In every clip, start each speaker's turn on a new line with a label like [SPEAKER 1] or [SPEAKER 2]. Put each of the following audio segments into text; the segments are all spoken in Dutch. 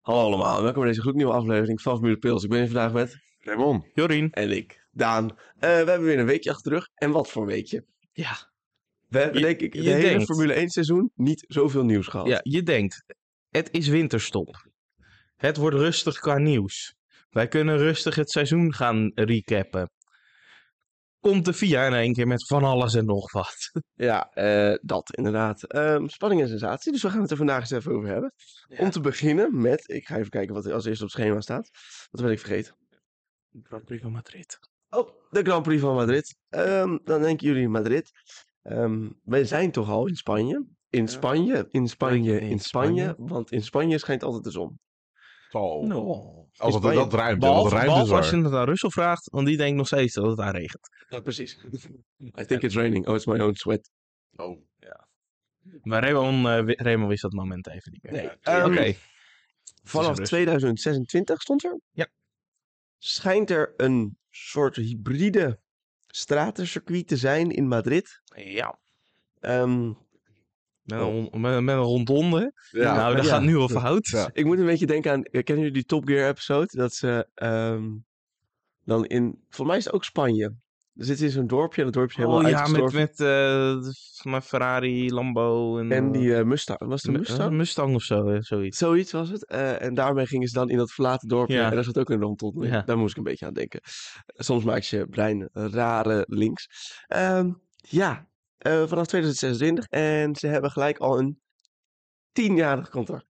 [SPEAKER 1] Hallo allemaal, welkom bij deze gloednieuwe aflevering van Formule Pils. Ik ben hier vandaag met
[SPEAKER 2] Raymond.
[SPEAKER 3] Jorien.
[SPEAKER 1] en ik, Daan. Eh, we hebben weer een weekje achter de rug. En wat voor weekje.
[SPEAKER 3] Ja.
[SPEAKER 1] We hebben
[SPEAKER 3] Je-
[SPEAKER 1] denk ik het
[SPEAKER 3] je
[SPEAKER 1] hele
[SPEAKER 3] denkt.
[SPEAKER 1] Formule 1 seizoen niet zoveel nieuws gehad.
[SPEAKER 3] ja, je denkt, het is winterstop. Het wordt rustig qua nieuws. Wij kunnen rustig het seizoen gaan recappen. Komt de VIA in één keer met van alles en nog wat.
[SPEAKER 1] Ja, eh, dat inderdaad. Ehm, spanning en sensatie, dus we gaan het er vandaag eens even over hebben. Om te beginnen met, ik ga even kijken wat er als eerste op het schema staat. Wat ben ik vergeten?
[SPEAKER 3] Grand Prix van Madrid.
[SPEAKER 1] Oh, de Grand Prix van Madrid. Ehm, dan denken jullie Madrid. Ehm, we zijn toch al in Spanje? In Spanje, in Spanje, in
[SPEAKER 3] in
[SPEAKER 1] Spanje.
[SPEAKER 3] Spanje.
[SPEAKER 1] Want in Spanje schijnt altijd de zon.
[SPEAKER 2] Zo.
[SPEAKER 3] No.
[SPEAKER 2] Als het,
[SPEAKER 1] Spanje.
[SPEAKER 2] dat ruimt, dat
[SPEAKER 3] Behalve,
[SPEAKER 2] ruimt
[SPEAKER 3] behalve
[SPEAKER 2] dus
[SPEAKER 3] als je
[SPEAKER 2] waar.
[SPEAKER 3] het aan Russell vraagt, want die denkt nog steeds dat het aan regent.
[SPEAKER 1] Ja, precies. I think it's raining. Oh, it's my own sweat.
[SPEAKER 2] Oh.
[SPEAKER 3] Maar Raymond, eh, wi- Raymond wist dat moment even niet meer.
[SPEAKER 1] Nee.
[SPEAKER 3] Oké.
[SPEAKER 1] ehm,
[SPEAKER 3] Het
[SPEAKER 1] Vanaf
[SPEAKER 3] is een rust.
[SPEAKER 1] 2026 stond er.
[SPEAKER 3] Ja.
[SPEAKER 1] Schijnt er een soort hybride stratencircuit te zijn in Madrid.
[SPEAKER 3] Ja.
[SPEAKER 1] Ehm,
[SPEAKER 3] Met een, hond- met, met een rondonde.
[SPEAKER 2] Ja.
[SPEAKER 3] nou, dat
[SPEAKER 1] ja.
[SPEAKER 3] gaat nu al fout.
[SPEAKER 2] Ja.
[SPEAKER 1] ik moet een beetje denken aan... eh, Kennen jullie die Top Gear episode? Dat ze ehm, dan in... Volgens mij is het ook Spanje. Er zit in zo'n dorpje en het dorpje is helemaal
[SPEAKER 3] oh ja, met,
[SPEAKER 1] uitgestorven.
[SPEAKER 3] met eh, mijn Ferrari, Lambo en...
[SPEAKER 1] En
[SPEAKER 3] eh,
[SPEAKER 1] die eh, Mustang. Was het
[SPEAKER 3] Mu-
[SPEAKER 1] een
[SPEAKER 3] was
[SPEAKER 1] Mustang?
[SPEAKER 3] een Mustang of zo, eh, zoiets.
[SPEAKER 1] Zoiets was het. Eh, en daarmee gingen ze dan in dat verlaten dorpje.
[SPEAKER 3] Ja.
[SPEAKER 1] En daar zat ook een rondondeling.
[SPEAKER 3] Ja.
[SPEAKER 1] Daar moest ik een beetje aan denken. Soms maakt je brein rare links. Ehm, ja, eh, vanaf 2026. En ze hebben gelijk al een tienjarig contract.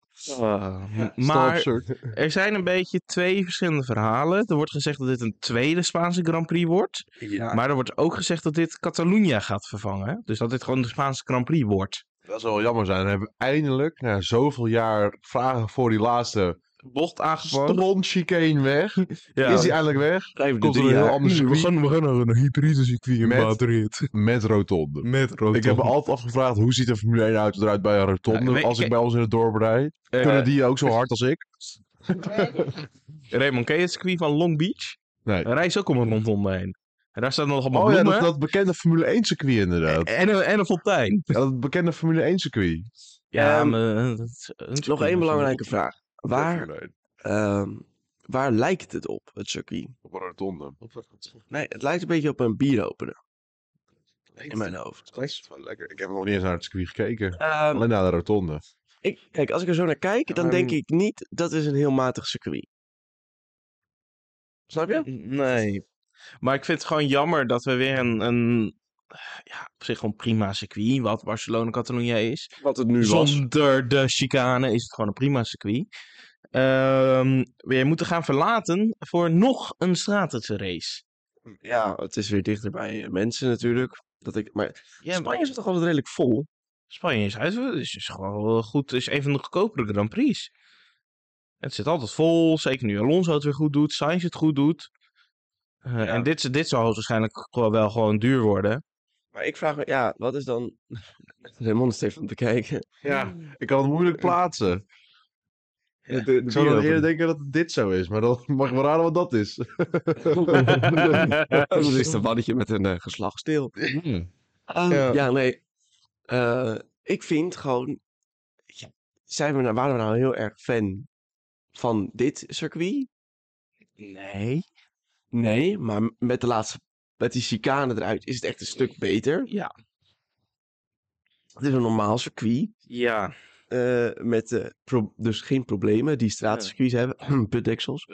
[SPEAKER 3] maar
[SPEAKER 2] absurd.
[SPEAKER 3] er zijn een beetje twee verschillende verhalen. Er wordt gezegd dat dit een tweede Spaanse Grand Prix wordt.
[SPEAKER 1] Ja.
[SPEAKER 3] Maar er wordt ook gezegd dat dit Catalunya gaat vervangen. hè? Dus dat dit gewoon de Spaanse Grand Prix wordt.
[SPEAKER 2] Dat zou wel jammer zijn. Dan hebben we eindelijk, na zoveel jaar, vragen voor die laatste
[SPEAKER 3] Bocht aangepast.
[SPEAKER 2] strontchicane weg.
[SPEAKER 3] Ja.
[SPEAKER 2] Is die eindelijk weg?
[SPEAKER 1] Schrijven de
[SPEAKER 2] Komt er
[SPEAKER 1] drie
[SPEAKER 2] een heel
[SPEAKER 1] jaar.
[SPEAKER 2] ander circuit
[SPEAKER 3] gaan, we gaan naar een hybride circuit
[SPEAKER 2] Met-
[SPEAKER 3] Madrid.
[SPEAKER 2] met rotonde.
[SPEAKER 3] Met rotonde.
[SPEAKER 2] Ik heb me altijd afgevraagd, hoe ziet een Formule 1 auto eruit bij een rotonde
[SPEAKER 3] Ja, weet-
[SPEAKER 2] als ik
[SPEAKER 3] ik-
[SPEAKER 2] bij ons in het dorp rijd?
[SPEAKER 3] Eh,
[SPEAKER 2] Kunnen die ook zo hard als ik?
[SPEAKER 3] Raymond, ken je het circuit van Long Beach?
[SPEAKER 2] Nee.
[SPEAKER 3] Daar rijdt ze ook om een rondonde heen. En daar staan nog allemaal
[SPEAKER 2] Oh ja,
[SPEAKER 3] bloemen.
[SPEAKER 2] dat, dat bekende Formule 1 circuit inderdaad.
[SPEAKER 3] En, een, en een fontein.
[SPEAKER 2] Ja, dat bekende Formule 1 circuit.
[SPEAKER 3] Ja,
[SPEAKER 1] Ehm,
[SPEAKER 3] maar, eh, dat is een circuit
[SPEAKER 1] Nog
[SPEAKER 3] met
[SPEAKER 1] één
[SPEAKER 3] zo'n
[SPEAKER 1] belangrijke vraag. Waar,
[SPEAKER 2] Formule 1,
[SPEAKER 1] ehm, waar lijkt het op, het circuit?
[SPEAKER 2] Op een rotonde.
[SPEAKER 1] Nee, het lijkt een beetje op een bieropener in mijn hoofd.
[SPEAKER 2] lekker. Ik heb nog niet eens naar het circuit gekeken.
[SPEAKER 1] Ehm,
[SPEAKER 2] Alleen naar de rotonde.
[SPEAKER 1] ik, kijk, als ik er zo naar kijk, dan denk ik niet dat is een heel matig circuit. Snap je?
[SPEAKER 3] Nee. Maar ik vind het gewoon jammer dat we weer een, een ja, op zich gewoon prima circuit, wat Barcelona-Catalunya is.
[SPEAKER 1] Wat het nu
[SPEAKER 3] Zonder de chicane is het gewoon een prima circuit. Ehm weer moeten gaan verlaten voor nog een stratische race.
[SPEAKER 1] Ja, het is weer dichter bij eh, mensen natuurlijk. Dat ik, maar
[SPEAKER 3] Ja,
[SPEAKER 1] Spanje is toch altijd redelijk vol?
[SPEAKER 3] Spanje is uit, dus is gewoon wel goed. is een van de goedkopere Grand Prix. Het zit altijd vol, zeker nu Alonso het weer goed doet, Sainz het goed doet. Eh, En dit, dit zal waarschijnlijk gewoon wel gewoon duur worden.
[SPEAKER 1] Maar ik vraag me, ja, wat is dan... Raymond is even aan te kijken.
[SPEAKER 2] Ja, ik kan het moeilijk plaatsen.
[SPEAKER 3] Ja,
[SPEAKER 2] Het- ik zou dan eerder denken dat het dit zo is, maar dan mag ik wel raden wat dat is.
[SPEAKER 1] dat is een mannetje met een eh, geslachtsdeel. Ehm, ja.
[SPEAKER 3] Ja.
[SPEAKER 1] nee. Eh, ik vind gewoon... ja, zijn we nou, waren we nou heel erg fan van dit circuit?
[SPEAKER 3] Nee.
[SPEAKER 1] Nee, maar m- met de laatste... Met die chicane eruit is het echt een stuk beter.
[SPEAKER 3] Ja.
[SPEAKER 1] Het is een normaal circuit.
[SPEAKER 3] Ja.
[SPEAKER 1] eh, met eh, pro- dus geen problemen die straatcircuits hebben, putdeksels.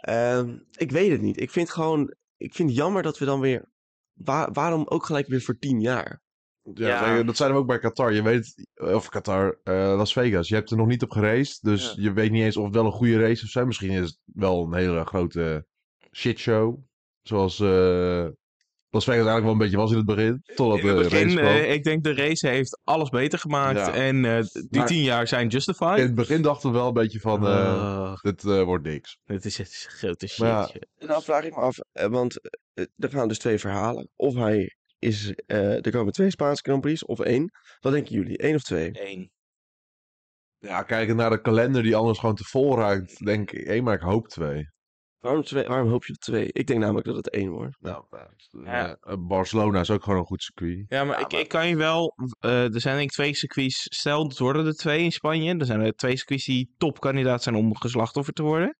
[SPEAKER 1] Ehm, ik weet het niet. Ik vind gewoon, ik vind jammer dat we dan weer, wa- waarom ook gelijk weer voor tien jaar?
[SPEAKER 2] Ja,
[SPEAKER 3] Ja.
[SPEAKER 2] zeker. dat zijn we ook bij Qatar. Je weet, of Qatar, eh, Las Vegas. Je hebt er nog niet op geraced, dus je weet niet eens of het wel een goede race is of zijn. Misschien is het wel een hele grote shitshow, zoals eh, Las Vegas eigenlijk wel een beetje was in het begin, eh, totdat de race kwam.
[SPEAKER 3] eh, ik denk de race heeft alles beter gemaakt.
[SPEAKER 2] Ja.
[SPEAKER 3] En eh, die
[SPEAKER 1] Maar-
[SPEAKER 3] tien jaar zijn justified.
[SPEAKER 2] In het begin dachten we wel een beetje van, eh
[SPEAKER 3] Ugh,
[SPEAKER 2] dit eh, wordt niks.
[SPEAKER 3] Oh, dit is echt grote shit.
[SPEAKER 2] Maar ja.
[SPEAKER 3] joh.
[SPEAKER 1] En dan vraag ik me af, eh, want eh, er gaan dus twee verhalen. Of hij is, eh, er komen twee Spaanse Grand Prix of één. Wat denken jullie, één of twee?
[SPEAKER 3] Eén.
[SPEAKER 2] Ja, kijken naar de kalender die anders gewoon te vol raakt, denk ik één, maar ik hoop twee.
[SPEAKER 1] Waarom, twee, waarom hoop je op twee? Ik denk namelijk dat het één wordt.
[SPEAKER 2] Nou, nou,
[SPEAKER 3] Ja.
[SPEAKER 2] eh, Barcelona is ook gewoon een goed circuit.
[SPEAKER 3] Ja, maar,
[SPEAKER 1] Ja,
[SPEAKER 3] ik,
[SPEAKER 1] maar-
[SPEAKER 3] ik kan je wel. eh, er zijn denk ik twee circuits. Stel, het worden er twee in Spanje. Er zijn er twee circuits die topkandidaat zijn om geslachtoffer te worden.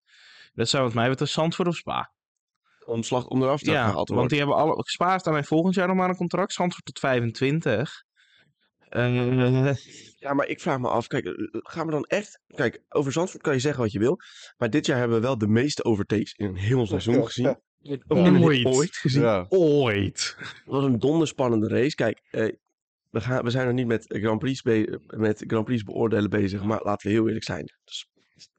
[SPEAKER 3] Dat zou wat mij betreft Zandvoort of Spa.
[SPEAKER 1] Om slag om eraf te
[SPEAKER 3] Ja,
[SPEAKER 1] gehaald te
[SPEAKER 3] want
[SPEAKER 1] worden.
[SPEAKER 3] die hebben alle. Spa heeft daarmee volgend jaar nog maar een contract. Zandvoort tot 25. Eh,
[SPEAKER 1] Ja, maar ik vraag me af. Kijk, eh, gaan we dan echt... Kijk, over Zandvoort kan je zeggen wat je wil. Maar dit jaar hebben we wel de meeste overtakes in een heel seizoen gezien.
[SPEAKER 2] Ja.
[SPEAKER 3] Nooit.
[SPEAKER 1] Ooit gezien.
[SPEAKER 2] Ja.
[SPEAKER 3] Ooit.
[SPEAKER 1] Het was een donderspannende race. Kijk, eh, we, gaan, we zijn nog niet met Grand, Prix be- met Grand Prix beoordelen bezig. Maar laten we heel eerlijk zijn. Dus,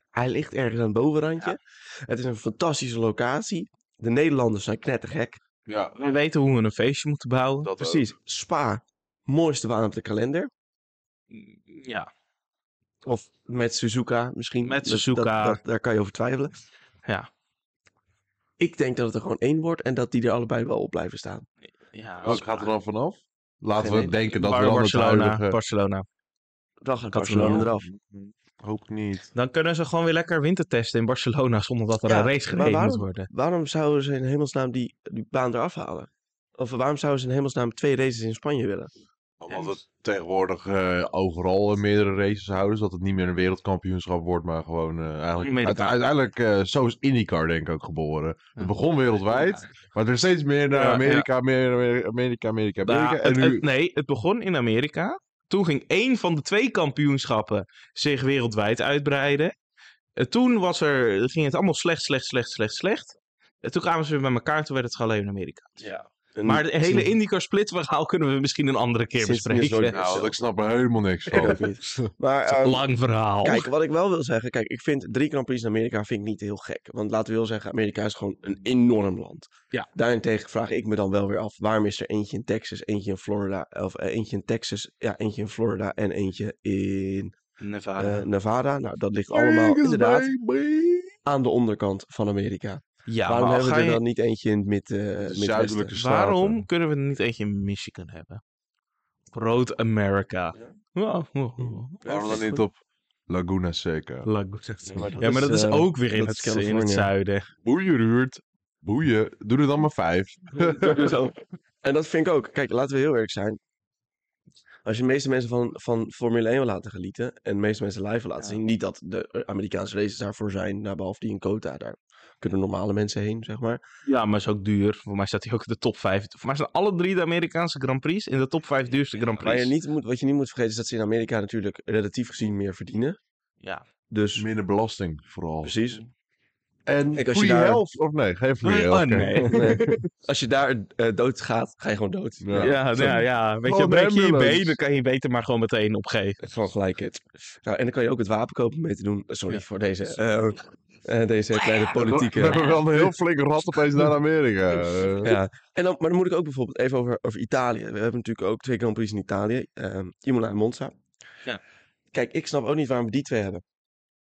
[SPEAKER 1] hij ligt ergens aan het bovenrandje. Het is een fantastische locatie. De Nederlanders zijn knettergek.
[SPEAKER 2] Ja,
[SPEAKER 3] Wij weten hoe we een feestje moeten bouwen.
[SPEAKER 2] dat
[SPEAKER 1] Precies. Spa, mooiste baan op de kalender.
[SPEAKER 3] Ja.
[SPEAKER 1] Of met Suzuka misschien.
[SPEAKER 3] Met
[SPEAKER 1] Dat-
[SPEAKER 3] Suzuka.
[SPEAKER 1] dat- dat- daar kan je over twijfelen.
[SPEAKER 3] Ja.
[SPEAKER 1] Ik denk dat het er gewoon één wordt en dat die er allebei wel op blijven staan.
[SPEAKER 3] ja
[SPEAKER 2] ook. Wat gaat er dan vanaf? Laten
[SPEAKER 1] Geen
[SPEAKER 2] we denken dat we
[SPEAKER 3] Bar-
[SPEAKER 2] dan het
[SPEAKER 3] Barcelona,
[SPEAKER 2] huidige...
[SPEAKER 3] Barcelona.
[SPEAKER 1] Dan gaat
[SPEAKER 3] Barcelona
[SPEAKER 1] Barcelona eraf.
[SPEAKER 3] Mm-hmm.
[SPEAKER 2] Hoop ik niet.
[SPEAKER 3] Dan kunnen ze gewoon weer lekker wintertesten in Barcelona zonder dat er
[SPEAKER 1] Ja,
[SPEAKER 3] een race
[SPEAKER 1] maar
[SPEAKER 3] gereden moet
[SPEAKER 1] waarom?
[SPEAKER 3] worden.
[SPEAKER 1] Waarom zouden ze in hemelsnaam die, die baan eraf halen? Of waarom zouden ze in hemelsnaam twee races in Spanje willen?
[SPEAKER 2] Omdat we tegenwoordig eh, overal eh, meerdere races houden. Zodat het niet meer een wereldkampioenschap wordt, maar gewoon eh, eigenlijk...
[SPEAKER 3] Mede-
[SPEAKER 2] uite- uiteindelijk, eh, zo is IndyCar denk ik ook geboren.
[SPEAKER 3] Ja.
[SPEAKER 2] Het begon wereldwijd, maar er is steeds meer naar
[SPEAKER 3] Ja,
[SPEAKER 2] Amerika, meer Amerika, Amerika, Amerika,
[SPEAKER 3] Nou,
[SPEAKER 2] Amerika. en
[SPEAKER 3] het-
[SPEAKER 2] nu...
[SPEAKER 3] het- nee, het begon in Amerika. Toen ging één van de twee kampioenschappen zich wereldwijd uitbreiden. Eh, toen was er, ging het allemaal slecht, slecht, slecht, slecht, slecht. En toen kwamen ze weer bij elkaar, toen werd het gewoon alleen Amerika.
[SPEAKER 1] Ja.
[SPEAKER 3] Maar de hele Indicar split verhaal kunnen we misschien een andere keer
[SPEAKER 1] Sinds die is
[SPEAKER 3] bespreken.
[SPEAKER 1] nooit-
[SPEAKER 2] Nou, ik snap er helemaal niks
[SPEAKER 1] Oh, Ik ook
[SPEAKER 2] van.
[SPEAKER 1] niet. Maar,
[SPEAKER 3] Het is een
[SPEAKER 1] ehm,
[SPEAKER 3] Lang verhaal.
[SPEAKER 1] Kijk, wat ik wel wil zeggen. Kijk, ik vind drie Grand Prix in Amerika vind ik niet heel gek. Want laten we wel zeggen, Amerika is gewoon een enorm land.
[SPEAKER 3] Ja.
[SPEAKER 1] Daarentegen vraag ik me dan wel weer af. Waarom is er eentje in Texas, eentje in Florida. Of eh, eentje in Texas, ja, eentje in Florida en eentje in eh,
[SPEAKER 2] Ah.
[SPEAKER 3] Nevada.
[SPEAKER 1] Nevada. Nou, dat ligt allemaal inderdaad
[SPEAKER 2] Baby.
[SPEAKER 1] aan de onderkant van Amerika.
[SPEAKER 3] ja,
[SPEAKER 1] waarom
[SPEAKER 3] maar
[SPEAKER 1] hebben we
[SPEAKER 3] ga
[SPEAKER 1] er
[SPEAKER 3] je-
[SPEAKER 1] dan niet eentje in het mid, eh,
[SPEAKER 2] Zuidelijke
[SPEAKER 1] midwesten?
[SPEAKER 2] staten.
[SPEAKER 3] waarom kunnen we er niet eentje in Michigan hebben? Road America.
[SPEAKER 1] Ja.
[SPEAKER 3] Wow, wow,
[SPEAKER 1] Hm.
[SPEAKER 3] wow.
[SPEAKER 2] Waarom dan niet op Laguna Seca?
[SPEAKER 3] Laguna.
[SPEAKER 1] Ja, maar dat
[SPEAKER 3] Ja, maar
[SPEAKER 1] is,
[SPEAKER 3] dat is
[SPEAKER 1] eh,
[SPEAKER 3] ook weer in
[SPEAKER 1] dat
[SPEAKER 3] het,
[SPEAKER 1] is
[SPEAKER 3] in het
[SPEAKER 1] Californië.
[SPEAKER 3] zuiden.
[SPEAKER 2] Boeien, Ruurt. Boeien. Doe er dan maar vijf.
[SPEAKER 1] Zo. Dus En dat vind ik ook. Kijk, laten we heel eerlijk zijn. Als je de meeste mensen van, van Formule 1 wil laten genieten en de meeste mensen live wil laten
[SPEAKER 3] Ja.
[SPEAKER 1] zien, niet dat de eh, Amerikaanse races daarvoor zijn, nou, behalve die in quota, daar kunnen normale mensen heen, zeg maar.
[SPEAKER 3] Ja, maar is ook duur. Voor mij staat hij ook in de top 5. Voor mij staan alle drie de Amerikaanse Grand Prix in de top 5 duurste Grand
[SPEAKER 1] Maar je
[SPEAKER 3] Prix.
[SPEAKER 1] niet moet, wat je niet moet vergeten is dat ze in Amerika natuurlijk relatief gezien meer verdienen.
[SPEAKER 3] Ja.
[SPEAKER 1] Dus
[SPEAKER 2] Minder belasting,
[SPEAKER 3] Oh.
[SPEAKER 2] vooral.
[SPEAKER 1] precies.
[SPEAKER 2] En
[SPEAKER 1] Kijk, als je
[SPEAKER 2] free
[SPEAKER 1] daar-
[SPEAKER 2] health, of nee? Geen free
[SPEAKER 3] Nee,
[SPEAKER 2] health.
[SPEAKER 3] oh, nee.
[SPEAKER 1] Nee. Als je daar eh, dood gaat, ga je gewoon dood.
[SPEAKER 2] Ja.
[SPEAKER 3] Ja, nou ja, Weet je,
[SPEAKER 2] Gewoon
[SPEAKER 3] breek je je
[SPEAKER 2] ambulance.
[SPEAKER 3] been, dan kan je beter maar gewoon meteen opgeven.
[SPEAKER 1] Van gelijkheid. Nou, en dan kan je ook het wapen kopen om mee te doen. Sorry
[SPEAKER 3] Ja.
[SPEAKER 1] voor deze, eh, eh, deze kleine
[SPEAKER 2] We
[SPEAKER 1] politieke...
[SPEAKER 2] hebben wel een heel flink rat opeens naar Amerika. Eh,
[SPEAKER 1] Ja, en dan, maar dan moet ik ook bijvoorbeeld even over, over Italië. We hebben natuurlijk ook twee Grand Prix in Italië. ehm Imola en Monza.
[SPEAKER 3] Ja.
[SPEAKER 1] Kijk, ik snap ook niet waarom we die twee hebben.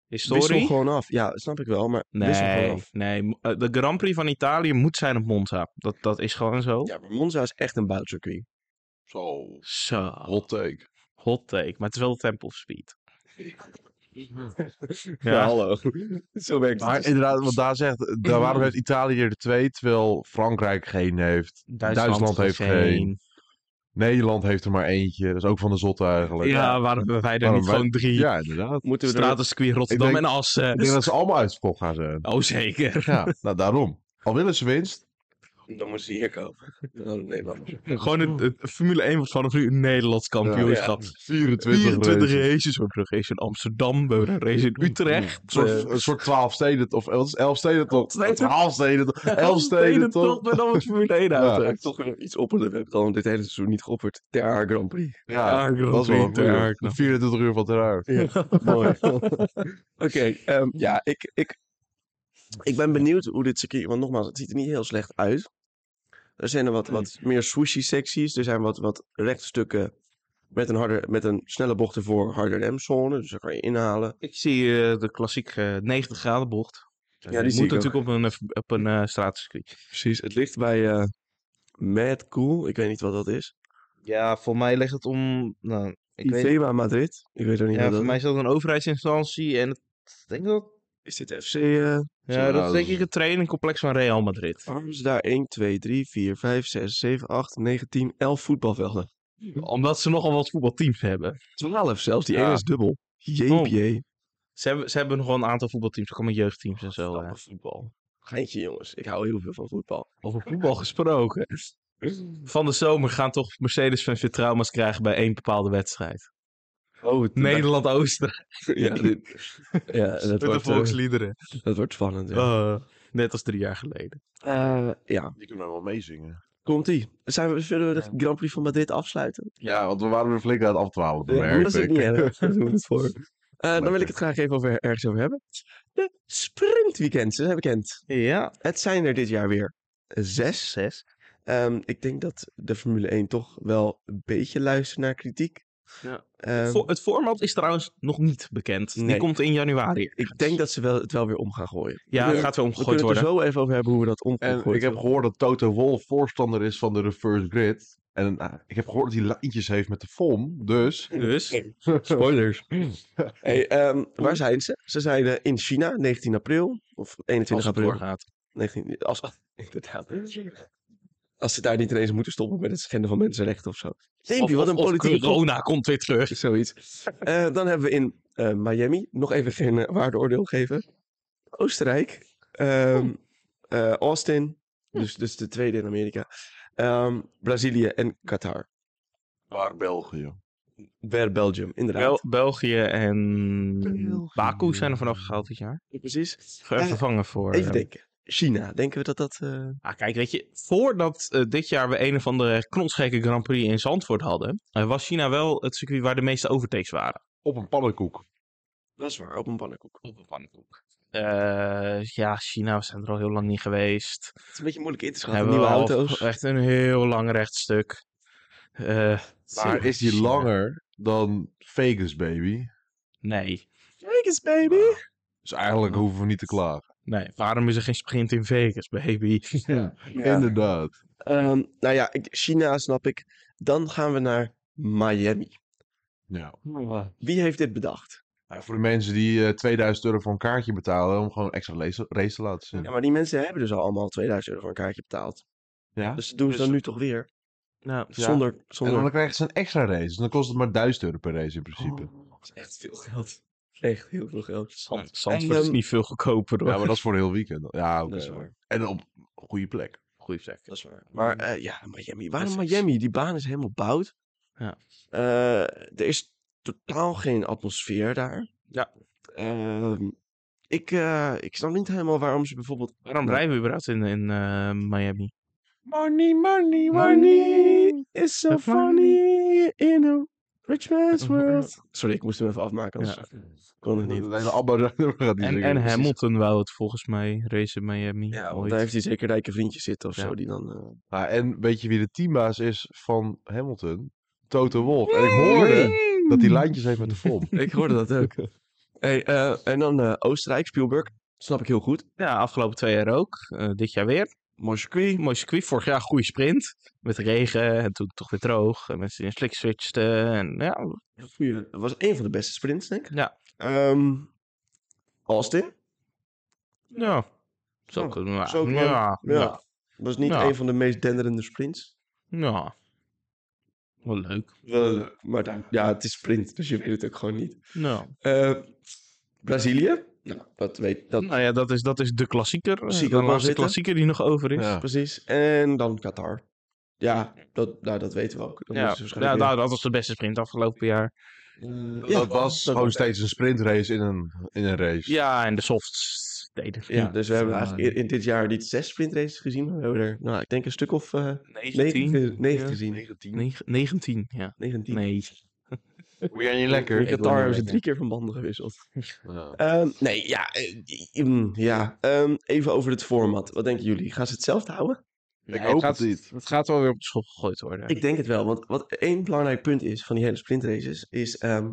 [SPEAKER 1] Wissel
[SPEAKER 3] Historie?
[SPEAKER 1] gewoon af. Ja, snap ik wel, maar wissel gewoon
[SPEAKER 3] Nee,
[SPEAKER 1] af.
[SPEAKER 3] nee. mo- eh, De Grand Prix van Italië moet zijn op Monza. Dat, dat is gewoon zo.
[SPEAKER 1] Ja, maar Monza is echt een boutcircuit.
[SPEAKER 2] Zo.
[SPEAKER 3] Zo.
[SPEAKER 2] Hot take.
[SPEAKER 3] Hot take. Maar het is wel de Temple of Speed.
[SPEAKER 1] Ja,
[SPEAKER 3] Ja.
[SPEAKER 1] hallo. Zo werkt het.
[SPEAKER 2] Maar
[SPEAKER 1] dus.
[SPEAKER 2] inderdaad, wat daar zegt, daar waarom heeft Italië er twee, terwijl Frankrijk geen heeft. Duitsland, heeft geen. Nederland heeft er maar eentje. Dat is ook van de zot eigenlijk.
[SPEAKER 3] Ja, waarom hebben wij er
[SPEAKER 2] Waarom
[SPEAKER 3] niet
[SPEAKER 2] wij-
[SPEAKER 3] gewoon drie?
[SPEAKER 2] Ja, dus inderdaad.
[SPEAKER 1] Moeten we er-
[SPEAKER 3] Stratencircuit Rotterdam
[SPEAKER 2] Ik denk-
[SPEAKER 3] en Assen.
[SPEAKER 2] Ik denk dat ze allemaal uitverkocht gaan zijn.
[SPEAKER 3] Oh, zeker.
[SPEAKER 2] Ja, nou daarom. Al willen ze winst.
[SPEAKER 1] Dan moeten ze hier kopen. Oh, nee, wacht.
[SPEAKER 3] Gewoon het, het Formule 1 wordt vanaf nu een Nederlands kampioenschap.
[SPEAKER 2] 24,
[SPEAKER 3] 24
[SPEAKER 2] races.
[SPEAKER 3] races. We hebben een race in Amsterdam, we hebben een race in Utrecht.
[SPEAKER 2] Een soort,
[SPEAKER 3] eh,
[SPEAKER 2] een soort 12 steden, of eh, wat is het? 11 steden tot.
[SPEAKER 3] steden.
[SPEAKER 2] 12 steden tot. 11 steden tot.
[SPEAKER 3] met dan het Formule 1
[SPEAKER 1] Ja,
[SPEAKER 3] uit.
[SPEAKER 1] ik toch weer iets opperen. We hebben gewoon dit hele seizoen niet geopperd. Ter haar Grand Prix.
[SPEAKER 2] Ja, dat is wel een goeie. De
[SPEAKER 3] nou.
[SPEAKER 2] 24 uur van eruit.
[SPEAKER 1] Mooi. Oké, ehm, ja, ik, ik, ik ben benieuwd hoe dit circuit... Want nogmaals, het ziet er niet heel slecht uit. Er zijn er wat, wat meer sushi-secties. Er zijn wat, wat rechtstukken met een, harde, met een snelle bocht ervoor. Harde remzone, dus daar kan je inhalen.
[SPEAKER 3] Ik zie eh, de klassiek eh, 90 graden bocht. Ja,
[SPEAKER 1] die
[SPEAKER 3] moet
[SPEAKER 1] zie ik ook.
[SPEAKER 3] natuurlijk op een, eh, op een eh, straatcircuit.
[SPEAKER 1] Precies, het ligt bij eh, Mad Cool. Ik weet niet wat dat is.
[SPEAKER 3] Ja, voor mij ligt het om... Nou,
[SPEAKER 1] Ifema Madrid. Ik weet ook niet wat dat is.
[SPEAKER 3] is dat een overheidsinstantie en ik denk dat
[SPEAKER 1] Is dit FC? eh
[SPEAKER 3] Ja, dat is
[SPEAKER 2] dat
[SPEAKER 3] denk
[SPEAKER 2] is-
[SPEAKER 3] ik het trainingcomplex van Real Madrid.
[SPEAKER 1] Arms daar 1, 2, 3, 4, 5, 6, 7, 8, 9, 10, 11 voetbalvelden.
[SPEAKER 3] Omdat ze nogal wat voetbalteams hebben.
[SPEAKER 1] 12 zelfs, die
[SPEAKER 2] Ja.
[SPEAKER 1] ene is dubbel. JPA.
[SPEAKER 3] Ze hebben, ze hebben nog wel een aantal voetbalteams. Ook allemaal jeugdteams en zo. hè.
[SPEAKER 1] Allemaal Ah, voetbal. Geintje jongens, ik hou heel veel van voetbal.
[SPEAKER 3] Over voetbal gesproken. Van de zomer gaan toch Mercedes-fans weer trauma's krijgen bij één bepaalde wedstrijd.
[SPEAKER 1] Oh, het
[SPEAKER 3] Nederland-Oosten.
[SPEAKER 1] Ja, dit- ja dat,
[SPEAKER 3] Met de
[SPEAKER 1] wordt, eh,
[SPEAKER 3] volksliederen.
[SPEAKER 1] dat wordt spannend. Ja.
[SPEAKER 3] Eh, net als drie jaar geleden.
[SPEAKER 1] Eh, ja.
[SPEAKER 2] Die kunnen wel meezingen.
[SPEAKER 1] Komt-ie. Zijn we, zullen we de Grand Prix van Madrid afsluiten?
[SPEAKER 2] Ja, want we waren weer flink aan het afdwalen.
[SPEAKER 1] Ja,
[SPEAKER 2] merk
[SPEAKER 1] dat is het
[SPEAKER 2] ik.
[SPEAKER 1] niet erg. Daar doen we het voor. Eh, dan wil ik
[SPEAKER 2] Lekker.
[SPEAKER 1] het graag even over, ergens over hebben. De sprintweekends, ze zijn bekend.
[SPEAKER 3] Ja,
[SPEAKER 1] Het zijn er dit jaar weer zes.
[SPEAKER 3] zes.
[SPEAKER 1] Ehm, ik denk dat de Formule 1 toch wel een beetje luistert naar kritiek.
[SPEAKER 3] Ja.
[SPEAKER 1] Ehm,
[SPEAKER 3] Vo- het format is trouwens nog niet bekend.
[SPEAKER 1] Nee.
[SPEAKER 3] Die komt in januari.
[SPEAKER 1] ik denk dat ze wel, het wel weer om gaan gooien.
[SPEAKER 3] Ja, het
[SPEAKER 1] we,
[SPEAKER 3] gaat weer
[SPEAKER 1] we
[SPEAKER 3] omgegooid
[SPEAKER 1] kunnen het er
[SPEAKER 3] worden.
[SPEAKER 1] zo even over hebben hoe we dat om gaan
[SPEAKER 2] En ik heb gehoord dat Toto Wolff voorstander is van de reverse grid. En eh, ik heb gehoord dat hij lijntjes heeft met de FOM. Dus.
[SPEAKER 3] Dus,
[SPEAKER 1] Spoilers. Hey, ehm, waar zijn ze? Ze zijn eh, in China, 19 april. Of 21
[SPEAKER 3] als het
[SPEAKER 1] april.
[SPEAKER 3] doorgaat.
[SPEAKER 1] 19, als, inderdaad. Als ze daar niet ineens moeten stoppen met het schenden van mensenrechten of zo.
[SPEAKER 3] Of,
[SPEAKER 1] Neemt wat een
[SPEAKER 3] of- of
[SPEAKER 1] politieke
[SPEAKER 3] corona komt weer terug.
[SPEAKER 1] Zoiets. Eh, dan hebben we in eh, Miami, nog even geen eh, waardeoordeel geven. Oostenrijk, ehm, eh, Austin, dus, dus de tweede in Amerika. ehm, Brazilië en Qatar.
[SPEAKER 2] Waar België?
[SPEAKER 1] Wer Belgium, inderdaad.
[SPEAKER 3] Bel- België en
[SPEAKER 1] België.
[SPEAKER 3] Baku zijn er vanaf gehaald dit jaar.
[SPEAKER 1] Precies.
[SPEAKER 3] Ver-
[SPEAKER 1] Eh,
[SPEAKER 3] Vervangen voor...
[SPEAKER 1] Even
[SPEAKER 3] eh,
[SPEAKER 1] denken. China, denken we dat dat... eh,
[SPEAKER 3] Ah, kijk, weet je, voordat eh, dit jaar we een of andere knotsgekke Grand Prix in Zandvoort hadden, eh, was China wel het circuit waar de meeste overtakes waren.
[SPEAKER 2] Op een pannenkoek.
[SPEAKER 1] Dat is waar, op een pannenkoek.
[SPEAKER 3] Op een pannenkoek. Eh, ja, China, we zijn er al heel lang niet geweest.
[SPEAKER 1] Het is een beetje moeilijk in te schatten,
[SPEAKER 3] Hebben
[SPEAKER 1] nieuwe
[SPEAKER 3] we al
[SPEAKER 1] auto's.
[SPEAKER 3] Echt een heel lang rechtstuk. Eh,
[SPEAKER 2] Maar is die
[SPEAKER 3] China.
[SPEAKER 2] langer dan Vegas, baby?
[SPEAKER 3] Nee,
[SPEAKER 1] Vegas, baby!
[SPEAKER 2] Dus eigenlijk hoeven we niet te klagen.
[SPEAKER 3] nee. Waarom is er geen sprint in Vegas, baby?
[SPEAKER 2] Inderdaad.
[SPEAKER 1] Ehm, nou ja, ik- China snap ik. Dan gaan we naar Miami.
[SPEAKER 2] Ja.
[SPEAKER 1] Wie heeft dit bedacht?
[SPEAKER 2] Nou, voor de mensen die eh, 2000 euro voor een kaartje betalen om gewoon extra lees- race te laten zien.
[SPEAKER 1] Ja, maar die mensen hebben dus al allemaal 2000 euro voor een kaartje betaald.
[SPEAKER 2] Ja.
[SPEAKER 1] Dus dat doen ze
[SPEAKER 2] Dus-
[SPEAKER 1] dan nu toch weer.
[SPEAKER 3] Nou,
[SPEAKER 2] Ja.
[SPEAKER 1] Zonder,
[SPEAKER 2] En
[SPEAKER 1] zonder...
[SPEAKER 2] dan krijgen ze een extra race. Dus dan kost het maar 1000 euro per race in principe.
[SPEAKER 1] Oh, dat is echt veel geld. Echt heel veel geld.
[SPEAKER 3] Zand, Zandvoort is
[SPEAKER 1] ehm,
[SPEAKER 3] niet veel goedkoper hoor.
[SPEAKER 2] Ja, maar dat is voor een heel weekend. Ja, oké.
[SPEAKER 1] Dat is waar.
[SPEAKER 2] En op een goede plek.
[SPEAKER 3] Goeie plek.
[SPEAKER 1] Dat is waar. Maar eh, ja, Miami. Waarom
[SPEAKER 3] Precies.
[SPEAKER 1] Miami? Die baan is helemaal bout.
[SPEAKER 3] Ja.
[SPEAKER 1] Eh, er is totaal geen atmosfeer daar.
[SPEAKER 3] Ja.
[SPEAKER 1] Ehm, ik, eh, ik snap niet helemaal waarom ze bijvoorbeeld...
[SPEAKER 3] Waarom rijden we überhaupt in, in eh, Miami?
[SPEAKER 1] Money, money,
[SPEAKER 3] Money
[SPEAKER 1] is so
[SPEAKER 3] so
[SPEAKER 1] funny in a rich man's world.
[SPEAKER 3] world.
[SPEAKER 1] Sorry, ik moest hem even afmaken,
[SPEAKER 3] Ja.
[SPEAKER 1] anders kon het
[SPEAKER 2] De
[SPEAKER 1] niet.
[SPEAKER 2] hele Abba gaat niet
[SPEAKER 3] En,
[SPEAKER 2] zingen.
[SPEAKER 3] en
[SPEAKER 2] Precies.
[SPEAKER 3] Hamilton wou het volgens mij racen in Miami.
[SPEAKER 1] Ja, want
[SPEAKER 3] ooit.
[SPEAKER 1] daar heeft hij zeker rijke vriendjes zitten of
[SPEAKER 3] Ja.
[SPEAKER 1] zo. Die dan, eh,
[SPEAKER 2] Ja, en weet je wie de teambaas is van Hamilton? Toto Wolff. En ik hoorde dat hij lijntjes heeft met de FOM.
[SPEAKER 1] Ik hoorde dat ook. Hey, eh, en dan eh, Oostenrijk, Spielberg. Snap ik heel goed.
[SPEAKER 3] Ja, afgelopen twee jaar ook. Eh, dit jaar weer.
[SPEAKER 1] Mooi circuit.
[SPEAKER 3] Mooi circuit. Vorig jaar goede sprint. Met regen en toen toch weer droog. En mensen die een slick switchten. En ja,
[SPEAKER 1] Goeie. Dat eh, was een van de beste sprints, denk ik.
[SPEAKER 3] Ja.
[SPEAKER 1] Ehm, Austin.
[SPEAKER 3] ja. Zo
[SPEAKER 1] Ja,
[SPEAKER 3] kunnen we.
[SPEAKER 1] is ook
[SPEAKER 3] ja,
[SPEAKER 1] leuk.
[SPEAKER 3] ja,
[SPEAKER 1] Oh, Ja.
[SPEAKER 3] ja.
[SPEAKER 1] Was niet
[SPEAKER 3] Ja.
[SPEAKER 1] een van de meest denderende sprints.
[SPEAKER 3] Wel leuk.
[SPEAKER 1] Wel,
[SPEAKER 3] Eh,
[SPEAKER 1] maar daar- ja, het is sprint, dus je weet het ook gewoon niet.
[SPEAKER 3] Nou,
[SPEAKER 1] Eh, Brazilië. Nou, dat weet dat
[SPEAKER 3] nou ja, dat is, dat is de klassieker. eh,
[SPEAKER 1] Zie ik
[SPEAKER 3] de
[SPEAKER 1] ook wel
[SPEAKER 3] laatste
[SPEAKER 1] zitten.
[SPEAKER 3] klassieker die nog over is.
[SPEAKER 2] Ja.
[SPEAKER 1] precies. En dan Qatar. Ja, dat, nou, dat dus weten we ook. Dan
[SPEAKER 3] Ja,
[SPEAKER 1] moeten ze
[SPEAKER 3] ja,
[SPEAKER 1] waarschijnlijk
[SPEAKER 3] nou, dat was de beste sprint afgelopen jaar.
[SPEAKER 1] weer- Eh,
[SPEAKER 2] dat was
[SPEAKER 1] dat
[SPEAKER 2] gewoon steeds een sprintrace in een, in een race.
[SPEAKER 3] Ja, en de softs deden het
[SPEAKER 1] Ja,
[SPEAKER 3] niet.
[SPEAKER 1] dus we hebben
[SPEAKER 3] Ja.
[SPEAKER 1] eigenlijk in, in dit jaar niet zes sprintraces gezien. Maar we hebben er, nou, ik denk een stuk of eh
[SPEAKER 3] 19.
[SPEAKER 1] 9,
[SPEAKER 3] Ja.
[SPEAKER 1] gezien.
[SPEAKER 2] 19.
[SPEAKER 3] Negen- 19, ja.
[SPEAKER 1] 19.
[SPEAKER 3] Nee.
[SPEAKER 2] Word jij niet
[SPEAKER 1] In
[SPEAKER 2] lekker?
[SPEAKER 3] Ik- wil
[SPEAKER 1] Qatar
[SPEAKER 3] niet
[SPEAKER 1] hebben ze
[SPEAKER 3] lekker.
[SPEAKER 1] drie keer van banden gewisseld.
[SPEAKER 2] Ja.
[SPEAKER 1] Ehm, nee, ja. eh, mm, ja. Ehm, even over het format. Wat denken jullie? Gaan ze hetzelfde houden?
[SPEAKER 2] Ik hoop
[SPEAKER 3] gaat,
[SPEAKER 2] het niet.
[SPEAKER 3] Het gaat wel weer op de schop gegooid worden.
[SPEAKER 1] Ik denk het wel. Want wat één belangrijk punt is van die hele sprintraces, is ehm,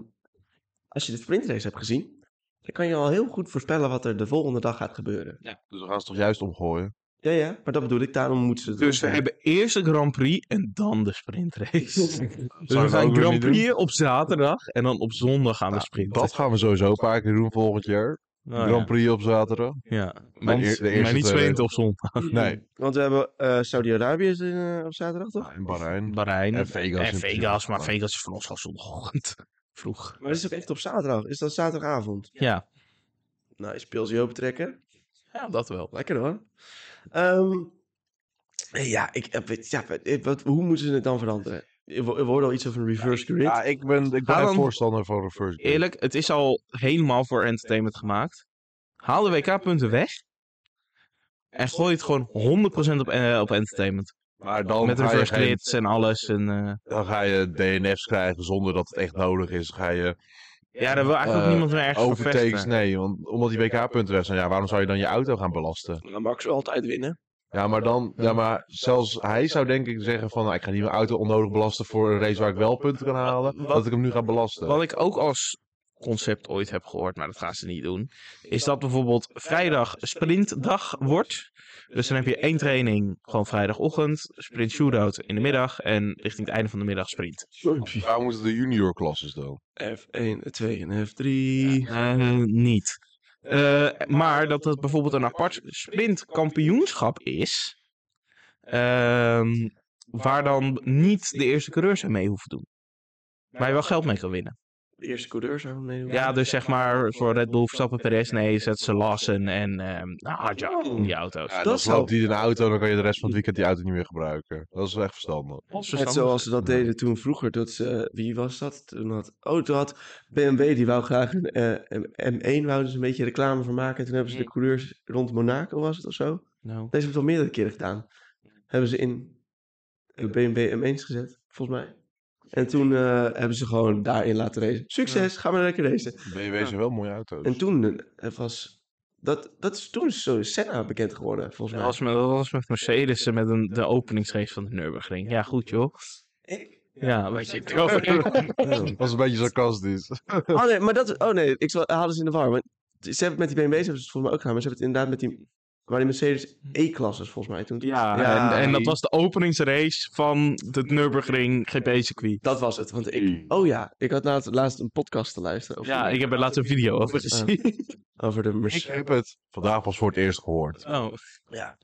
[SPEAKER 1] als je de sprintrace hebt gezien, dan kan je al heel goed voorspellen wat er de volgende dag gaat gebeuren.
[SPEAKER 2] Dus we gaan ze toch juist omgooien?
[SPEAKER 1] Ja, ja, maar dat bedoel ik. Daarom moeten ze het
[SPEAKER 3] Dus we
[SPEAKER 1] doen.
[SPEAKER 3] hebben eerst de Grand Prix en dan de sprintrace. dus
[SPEAKER 2] dat
[SPEAKER 3] we
[SPEAKER 2] ook
[SPEAKER 3] gaan
[SPEAKER 2] weer
[SPEAKER 3] Grand
[SPEAKER 2] niet doen?
[SPEAKER 3] Prix op zaterdag en dan op zondag gaan we
[SPEAKER 2] Nou,
[SPEAKER 3] sprinten.
[SPEAKER 2] Dat gaan we sowieso een paar keer doen volgend jaar.
[SPEAKER 3] Nou,
[SPEAKER 2] Grand Prix op zaterdag.
[SPEAKER 3] ja. Ja, maar,
[SPEAKER 2] Maar de
[SPEAKER 3] niet-
[SPEAKER 2] eerste
[SPEAKER 3] maar niet
[SPEAKER 2] twee
[SPEAKER 3] zweend op zondag.
[SPEAKER 2] Nee,
[SPEAKER 1] Want we hebben eh, Saudi-Arabië is in, eh, op zaterdag, toch?
[SPEAKER 2] in Bahrein.
[SPEAKER 3] Bahrein.
[SPEAKER 2] En Vegas
[SPEAKER 3] En
[SPEAKER 2] in
[SPEAKER 3] Vegas,
[SPEAKER 2] principe.
[SPEAKER 3] maar Vegas is voor ons al zondagochtend. Vroeg.
[SPEAKER 1] Maar dat is ook echt op zaterdag. Is dat zaterdagavond?
[SPEAKER 3] Ja.
[SPEAKER 1] Nou, je speelt ze open trekken.
[SPEAKER 3] ja, dat wel.
[SPEAKER 1] Lekker hoor. Ehm, eh, ja, ik, heb het- ja ik- wat, hoe moeten ze het dan veranderen? We we hoorden al iets over een reverse grid.
[SPEAKER 2] Ja, ik ben, ik ben
[SPEAKER 3] Haal
[SPEAKER 2] een
[SPEAKER 3] dan-
[SPEAKER 2] voorstander van reverse. grid.
[SPEAKER 3] Eerlijk, het is al helemaal voor entertainment gemaakt. Haal de WK-punten weg. En gooi het gewoon 100% op, eh, op entertainment.
[SPEAKER 2] Maar dan
[SPEAKER 3] Met
[SPEAKER 2] ga je
[SPEAKER 3] reverse
[SPEAKER 2] geen-
[SPEAKER 3] grids en alles. En, eh,
[SPEAKER 2] Dan ga je DNF's krijgen zonder dat het echt nodig is. Ga je
[SPEAKER 3] ja, daar wil eigenlijk ook
[SPEAKER 2] Eh,
[SPEAKER 3] niemand meer ergens voor
[SPEAKER 2] overtakes.
[SPEAKER 3] vechten.
[SPEAKER 2] Nee, want omdat die WK-punten weg zijn, ja, waarom zou je dan je auto gaan belasten?
[SPEAKER 1] Dan mag ze altijd winnen.
[SPEAKER 2] Ja, maar dan, ja, maar zelfs hij zou denk ik zeggen van, nou, ik ga niet mijn auto onnodig belasten voor een race waar ik wel punten kan halen, dat ik hem nu ga belasten.
[SPEAKER 3] Wat ik ook als concept ooit heb gehoord, maar dat gaan ze niet doen, is dat bijvoorbeeld vrijdag sprintdag wordt. Dus dan heb je één training gewoon vrijdagochtend, sprint shootout in de middag en richting het einde van de middag sprint.
[SPEAKER 2] Waarom moeten de junior klasses dan?
[SPEAKER 1] F1, F2 en F3.
[SPEAKER 3] Eh, niet. Eh, maar dat het bijvoorbeeld een apart sprintkampioenschap is, ehm, waar dan niet de eerste coureurs aan mee hoeven doen. Maar je wel geld mee kan winnen.
[SPEAKER 1] De eerste coureur zou meedoen.
[SPEAKER 3] Ja, dus zeg maar voor Red Bull Verstappen Perez, nee, zet ze Lassen en ehm Hadja in die auto's.
[SPEAKER 2] Ja,
[SPEAKER 1] Dat
[SPEAKER 2] dan
[SPEAKER 1] zou-
[SPEAKER 2] slaapt die in de auto en dan kan je de rest van het weekend die auto niet meer gebruiken. Dat is wel echt verstandig.
[SPEAKER 1] Net zoals ze dat
[SPEAKER 2] Ja.
[SPEAKER 1] deden toen vroeger. Dat ze, wie was dat? Toen had, oh, toen had BMW, die wou graag een eh, M1, wouden ze een beetje reclame voor maken. En toen hebben ze de coureurs rond Monaco, was het of zo?
[SPEAKER 3] Nou,
[SPEAKER 1] Deze hebben het al meerdere keren gedaan. Hebben ze in eh, een BMW M1's gezet, volgens mij. En toen eh, hebben ze gewoon daarin laten racen. Succes, ga maar lekker racen.
[SPEAKER 2] BW zijn wel mooie auto's.
[SPEAKER 1] En toen eh, was... Dat, dat is toen is zo Senna bekend geworden, volgens
[SPEAKER 3] dat
[SPEAKER 1] mij.
[SPEAKER 3] was met, dat was met Mercedes en met een, de openingsrace van de Nürburgring. Ja, goed joh. Ja, weet je het over.
[SPEAKER 2] Dat was een beetje sarcastisch.
[SPEAKER 1] Oh nee, maar dat... Oh nee, ik zal- haalde ze in de war. Maar ze hebben het met die BMW's hebben ze het volgens mij ook gedaan. Maar ze hebben het inderdaad met die... Maar die Mercedes E-klasses, volgens mij. Toen,
[SPEAKER 3] Hm. Ja,
[SPEAKER 1] Ja,
[SPEAKER 3] en, en dat
[SPEAKER 2] die-
[SPEAKER 3] was de openingsrace van de Nürburgring GP-circuit.
[SPEAKER 1] Dat was het, want ik... Oh ja, ik had laatst, laatst een podcast te luisteren over,
[SPEAKER 3] Hmm. Ja, ik heb er laatst een video over gezien.
[SPEAKER 1] over de
[SPEAKER 2] Ik
[SPEAKER 1] Mercedes.
[SPEAKER 2] heb het vandaag pas voor het eerst gehoord.
[SPEAKER 3] Oh,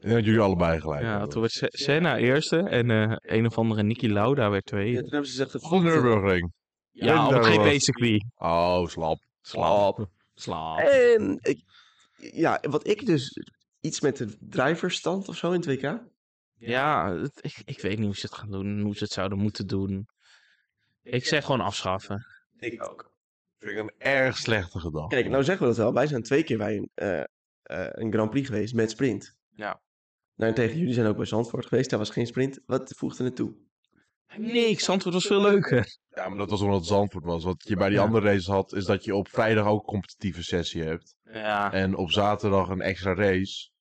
[SPEAKER 2] En dat jullie allebei gelijk
[SPEAKER 3] ja,
[SPEAKER 2] hebben.
[SPEAKER 3] toen werd Se- Senna eerste en eh, een of andere Niki Lauda werd
[SPEAKER 1] Ja,
[SPEAKER 3] tweede.
[SPEAKER 1] toen hebben ze gezegd...
[SPEAKER 2] Op de Nürburgring.
[SPEAKER 3] Ja, op het
[SPEAKER 2] Lauda was-
[SPEAKER 3] GP-circuit.
[SPEAKER 2] Oh, slap.
[SPEAKER 3] Slaap. Slaap.
[SPEAKER 1] En ik, ja, wat ik dus iets met de driverstand of zo in het WK.
[SPEAKER 3] Ja, het- ik, ik weet niet hoe ze het gaan doen, hoe ze het zouden moeten doen. Ik zeg gewoon afschaffen.
[SPEAKER 1] Ik ook.
[SPEAKER 2] Vind ik een erg slechte gedachte.
[SPEAKER 1] Kijk, nou zeggen we dat wel. Wij zijn twee keer bij een, eh, eh, een Grand Prix geweest met sprint.
[SPEAKER 3] Ja.
[SPEAKER 1] Daarentegen, jullie zijn ook bij Zandvoort geweest. Daar was geen sprint. Wat voegde het toe?
[SPEAKER 3] Niks, Zandvoort was veel leuker.
[SPEAKER 2] Ja, maar dat was omdat het Zandvoort was. Wat je bij die
[SPEAKER 3] Ja.
[SPEAKER 2] andere races had, is dat je op vrijdag ook een competitieve sessie hebt.
[SPEAKER 3] Ja,
[SPEAKER 2] En op zaterdag een extra race.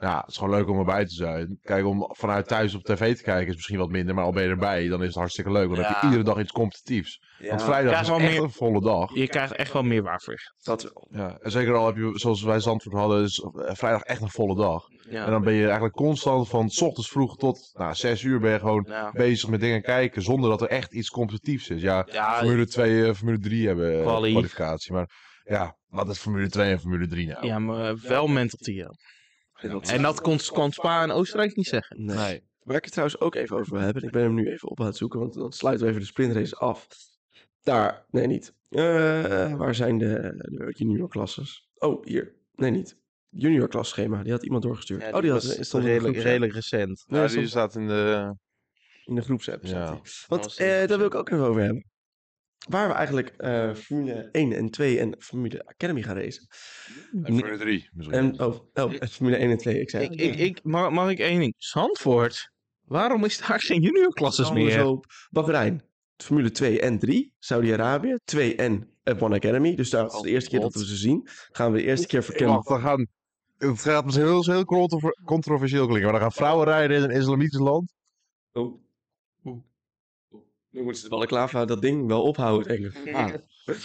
[SPEAKER 2] Ja, het is gewoon leuk om erbij te zijn. Kijk, om vanuit thuis op tv te kijken is misschien wat minder. Maar al ben je erbij, dan is het hartstikke leuk. Want dan heb je
[SPEAKER 3] Ja.
[SPEAKER 2] iedere dag iets competitiefs. Want vrijdag
[SPEAKER 3] Krijg
[SPEAKER 2] is
[SPEAKER 3] wel
[SPEAKER 2] echt
[SPEAKER 3] meer-
[SPEAKER 2] een volle dag.
[SPEAKER 3] je krijgt echt wel meer waar voor je geld.
[SPEAKER 1] dat wel.
[SPEAKER 2] Ja, en zeker al heb je, zoals wij Zandvoort hadden, is vrijdag echt een volle dag. En
[SPEAKER 3] Ja.
[SPEAKER 2] dan ben je eigenlijk constant van s ochtends vroeg tot nou, 6 uur ben je gewoon
[SPEAKER 3] Ja.
[SPEAKER 2] bezig met dingen kijken zonder dat er echt iets competitiefs is. Ja,
[SPEAKER 3] Ja,
[SPEAKER 2] Formule 2 en Formule 3 hebben eh,
[SPEAKER 3] Quali.
[SPEAKER 2] kwalificatie, maar ja, wat is Formule 2 en Formule 3 nou?
[SPEAKER 3] ja, maar wel mental TL. En dat kon, kon Spa en Oostenrijk niet zeggen.
[SPEAKER 1] Nee. Waar ik het trouwens ook even over wil hebben. Ik ben hem nu even op aan het zoeken. Want dan sluiten we even de sprintrace af. Daar. Nee, niet. Eh, waar zijn de, de junior klasses? Oh, hier. Nee, niet. Junior klas schema. Die had iemand doorgestuurd. oh, die had, stond in de groepsapp.
[SPEAKER 3] recent.
[SPEAKER 1] Nee, stond-
[SPEAKER 2] staat in de...
[SPEAKER 1] In de groepsapp staat
[SPEAKER 2] Ja.
[SPEAKER 1] die.
[SPEAKER 3] was
[SPEAKER 1] Want
[SPEAKER 3] die
[SPEAKER 1] eh,
[SPEAKER 3] groepsapp.
[SPEAKER 1] daar wil ik ook even over hebben. Waar we eigenlijk eh, Formule 1 en 2 en Formule Academy gaan racen.
[SPEAKER 2] Formule dus 3 misschien.
[SPEAKER 1] En, oh, oh, en Formule 1 en 2, ik zei
[SPEAKER 3] Ik,
[SPEAKER 1] het.
[SPEAKER 3] ik, ik, mag, mag ik één ding? Zandvoort? Waarom is daar geen juniorklasses
[SPEAKER 1] Anders
[SPEAKER 3] meer?
[SPEAKER 1] op Bahrein, Formule 2 en 3, Saudi-Arabië, 2 en F1 Academy. Dus daar is de eerste keer dat we ze zien. Gaan we de eerste keer verkennen.
[SPEAKER 2] Wacht, dan gaan... Het gaat misschien heel, heel contro- controversieel klinken, maar dan gaan vrouwen rijden in een islamitisch land.
[SPEAKER 1] Oh. Nu moeten ze de balaclava dat ding wel ophouden, denk ik. Ah.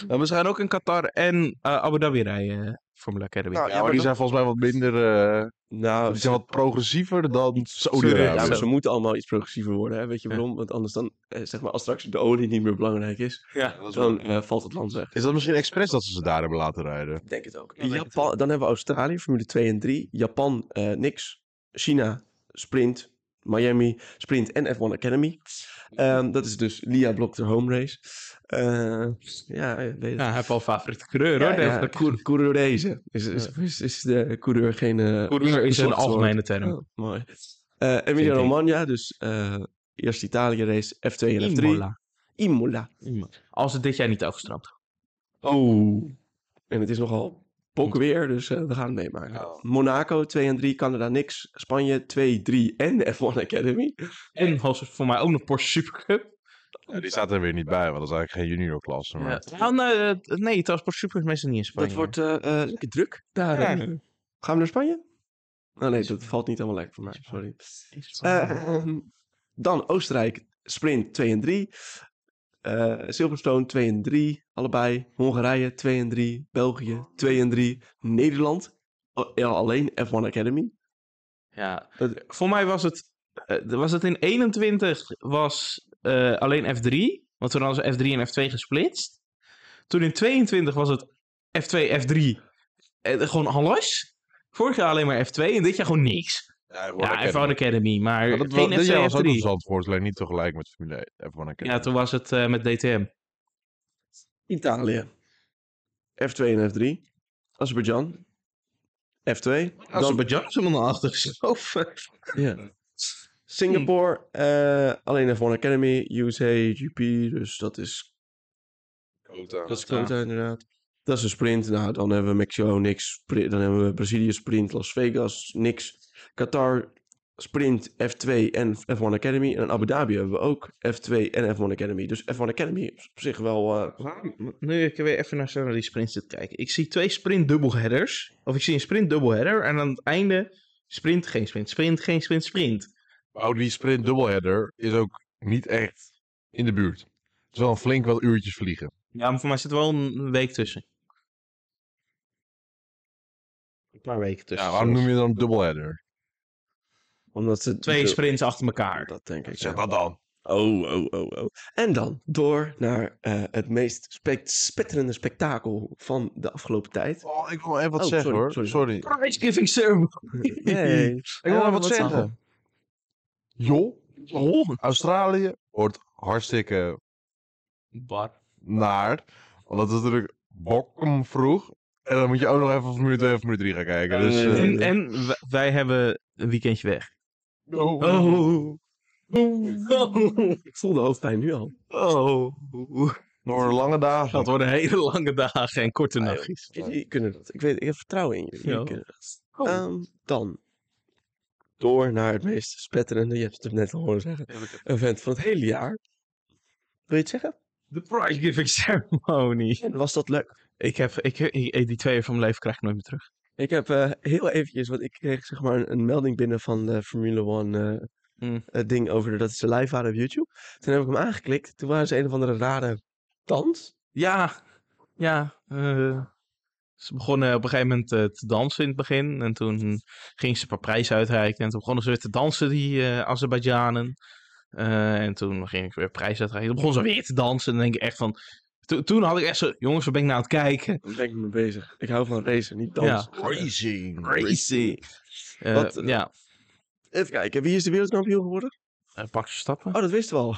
[SPEAKER 3] Maar we gaan ook in Qatar en eh, Abu Dhabi rijden, eh, Formula Academy.
[SPEAKER 1] Nou,
[SPEAKER 2] Ja, maar die zijn volgens mij wat minder. eh,
[SPEAKER 1] Nou,
[SPEAKER 2] die zijn wat progressiever dan
[SPEAKER 1] Ja,
[SPEAKER 2] Saudi-Arabië.
[SPEAKER 1] maar
[SPEAKER 3] Zo.
[SPEAKER 1] ze moeten allemaal iets progressiever worden, hè? weet je waarom? Want anders dan, eh, zeg maar, als straks de olie niet meer belangrijk is, dan eh, valt het land weg.
[SPEAKER 2] Is dat misschien expres dat ze ze daar hebben laten rijden?
[SPEAKER 1] Ik denk het ook.
[SPEAKER 4] Ja, denk het
[SPEAKER 1] Japan, dan hebben we Australië, Formule 2 en 3. Japan, eh, niks. China, Sprint. Miami, Sprint en F1 Academy. Ehm, dat is dus Lia Blok de home race. Eh, ja, ik weet het.
[SPEAKER 3] Ja, hij heeft al favoriete coureur
[SPEAKER 1] Ja,
[SPEAKER 3] hoor.
[SPEAKER 1] ja,
[SPEAKER 3] De
[SPEAKER 1] cour- coureurese. Is, is, is, is de coureur geen... eh,
[SPEAKER 3] coureur is een
[SPEAKER 1] slagwoord?
[SPEAKER 3] algemene term.
[SPEAKER 1] Oh, mooi. Eh Emilia
[SPEAKER 3] ik.
[SPEAKER 1] Romagna, dus eh eerst Italië race, F2 en F3.
[SPEAKER 3] Imola.
[SPEAKER 1] Imola.
[SPEAKER 3] Als het dit jaar niet overstroomt.
[SPEAKER 1] Oh. En het is nogal pok weer, dus eh, we gaan het meemaken. Monaco 2 en 3, Canada niks. Spanje 2, 3 en F1 Academy.
[SPEAKER 3] En hoogstens voor mij ook nog Porsche Supercup.
[SPEAKER 2] Ja, die staat er weer niet bij, want dat is eigenlijk geen junior klasse. Maar...
[SPEAKER 3] Ja. Nou, nee, eh, nee, trouwens, Porsche Supercup is meestal niet in Spanje.
[SPEAKER 1] Dat wordt eh, eh, lekker druk daar.
[SPEAKER 3] Ja.
[SPEAKER 1] eh. Gaan we naar Spanje? Oh nee, dat valt niet helemaal lekker voor mij, sorry.
[SPEAKER 3] Eh,
[SPEAKER 1] Ehm, dan Oostenrijk, Sprint 2 en 3. Eh Silverstone 2 en 3, allebei. Hongarije 2 en 3. België 2 en 3. Nederland, o- ja, alleen F1 Academy.
[SPEAKER 3] ja.
[SPEAKER 1] Dat-
[SPEAKER 3] Voor mij was het, eh, was het in 21 was eh, alleen F3. Want toen hadden ze F3 en F2 gesplitst. Toen in 22 was het F2, F3. eh, gewoon alles. Vorig jaar alleen maar F2 en dit jaar gewoon niks. Ja, F1 Academy, maar
[SPEAKER 2] Ja, dat
[SPEAKER 3] geen
[SPEAKER 2] was, dit jaar was ook nog
[SPEAKER 3] F2, F3.
[SPEAKER 2] Zandvoort, alleen niet tegelijk met Formule 1. F1 Academy.
[SPEAKER 3] Ja, toen was het eh, met DTM.
[SPEAKER 1] Italië. F2 en F3. Azerbeidzjan. F2. Dan,
[SPEAKER 3] Azerbaijan is helemaal naar achter geschoven.
[SPEAKER 1] ja. Singapore. eh, alleen F1 Academy. USA, GP. Dus dat is, dat is quota inderdaad. Dat is een sprint. Nou, dan hebben we Mexico niks. Spri- Dan hebben we Brazilië sprint. Las Vegas niks. Qatar sprint F2 en F1 Academy. En in Abu Dhabi hebben we ook F2 en F1 Academy. Dus F1 Academy is op zich wel... eh,
[SPEAKER 3] Nu ik weer even naar zo naar die sprint zit kijken. Ik zie twee sprint dubbelheaders. Of ik zie een sprint dubbelheader. En aan het einde sprint, geen sprint, sprint, geen sprint, sprint.
[SPEAKER 2] Oh, die sprint dubbelheader is ook niet echt in de buurt. Het is wel een flink wat uurtjes vliegen.
[SPEAKER 3] Ja, maar voor mij zit er wel een week tussen. Een paar weken tussen.
[SPEAKER 2] Ja, waarom
[SPEAKER 3] zelfs.
[SPEAKER 2] noem je dan een dubbelheader?
[SPEAKER 1] omdat ze
[SPEAKER 3] Twee sprints achter elkaar.
[SPEAKER 1] Dat denk ik.
[SPEAKER 2] Zeg
[SPEAKER 1] ja.
[SPEAKER 2] dat dan.
[SPEAKER 1] Oh, oh, oh, oh. En dan door naar eh, het meest spek- spetterende spektakel van de afgelopen tijd.
[SPEAKER 2] Oh, ik wil even wat
[SPEAKER 1] Oh,
[SPEAKER 2] zeggen
[SPEAKER 1] sorry,
[SPEAKER 2] hoor.
[SPEAKER 1] sorry.
[SPEAKER 2] Sorry.
[SPEAKER 3] Prize-giving ceremony.
[SPEAKER 1] Yay.
[SPEAKER 2] Ik wil even wat zeggen. Joh, Australië wordt hartstikke
[SPEAKER 3] Bar.
[SPEAKER 2] naar. Omdat het natuurlijk bokken vroeg. En dan moet je ook nog even Formule 2 of Formule 3 gaan kijken. Dus, eh,
[SPEAKER 3] En, en w- wij hebben een weekendje weg.
[SPEAKER 2] oh.
[SPEAKER 3] Oh.
[SPEAKER 1] Ik voel de hoofdpijn nu al.
[SPEAKER 3] Oh.
[SPEAKER 2] Door lange dagen.
[SPEAKER 3] Dat worden hele lange dagen en korte
[SPEAKER 1] Ah, joh.
[SPEAKER 3] nachtjes.
[SPEAKER 1] Jullie kunnen dat. Ik, weet, ik heb vertrouwen in jullie. Jullie
[SPEAKER 3] Ja.
[SPEAKER 1] kunnen dat.
[SPEAKER 3] Oh,
[SPEAKER 2] Ah.
[SPEAKER 1] Ehm, dan door naar het meest spetterende, je hebt het net al horen zeggen, event van het hele jaar. Wil je het zeggen?
[SPEAKER 3] De prize giving ceremony.
[SPEAKER 1] En was dat leuk?
[SPEAKER 3] Ik heb, ik, ik- die twee uur van mijn leven krijg ik nooit meer terug.
[SPEAKER 1] Ik heb eh, heel eventjes, want ik kreeg zeg maar een, een melding binnen van de Formule One eh,
[SPEAKER 3] Mm.
[SPEAKER 1] het ding over dat ze live waren op YouTube. Toen heb ik hem aangeklikt. Toen waren ze een of andere rare dans.
[SPEAKER 3] Ja, ja. eh, ze begonnen op een gegeven moment eh, te dansen in het begin. En toen gingen ze een paar prijzen uitreiken. En toen begonnen ze weer te dansen, die eh Azerbeidzjanen. Eh, en toen ging ik weer prijzen uitreiken. Toen begonnen ze weer te dansen. En dan denk ik echt van... Toen, toen had ik echt zo... Jongens, waar ben ik nou aan het kijken?
[SPEAKER 1] Daar ben ik mee bezig. Ik hou van racen, niet dansen.
[SPEAKER 2] Racing.
[SPEAKER 3] Crazy. Eh,
[SPEAKER 1] Wat, eh,
[SPEAKER 3] ja,
[SPEAKER 1] Even kijken, wie is de wereldkampioen geworden?
[SPEAKER 3] Eh, pak ze stappen.
[SPEAKER 1] Oh, dat wisten we al.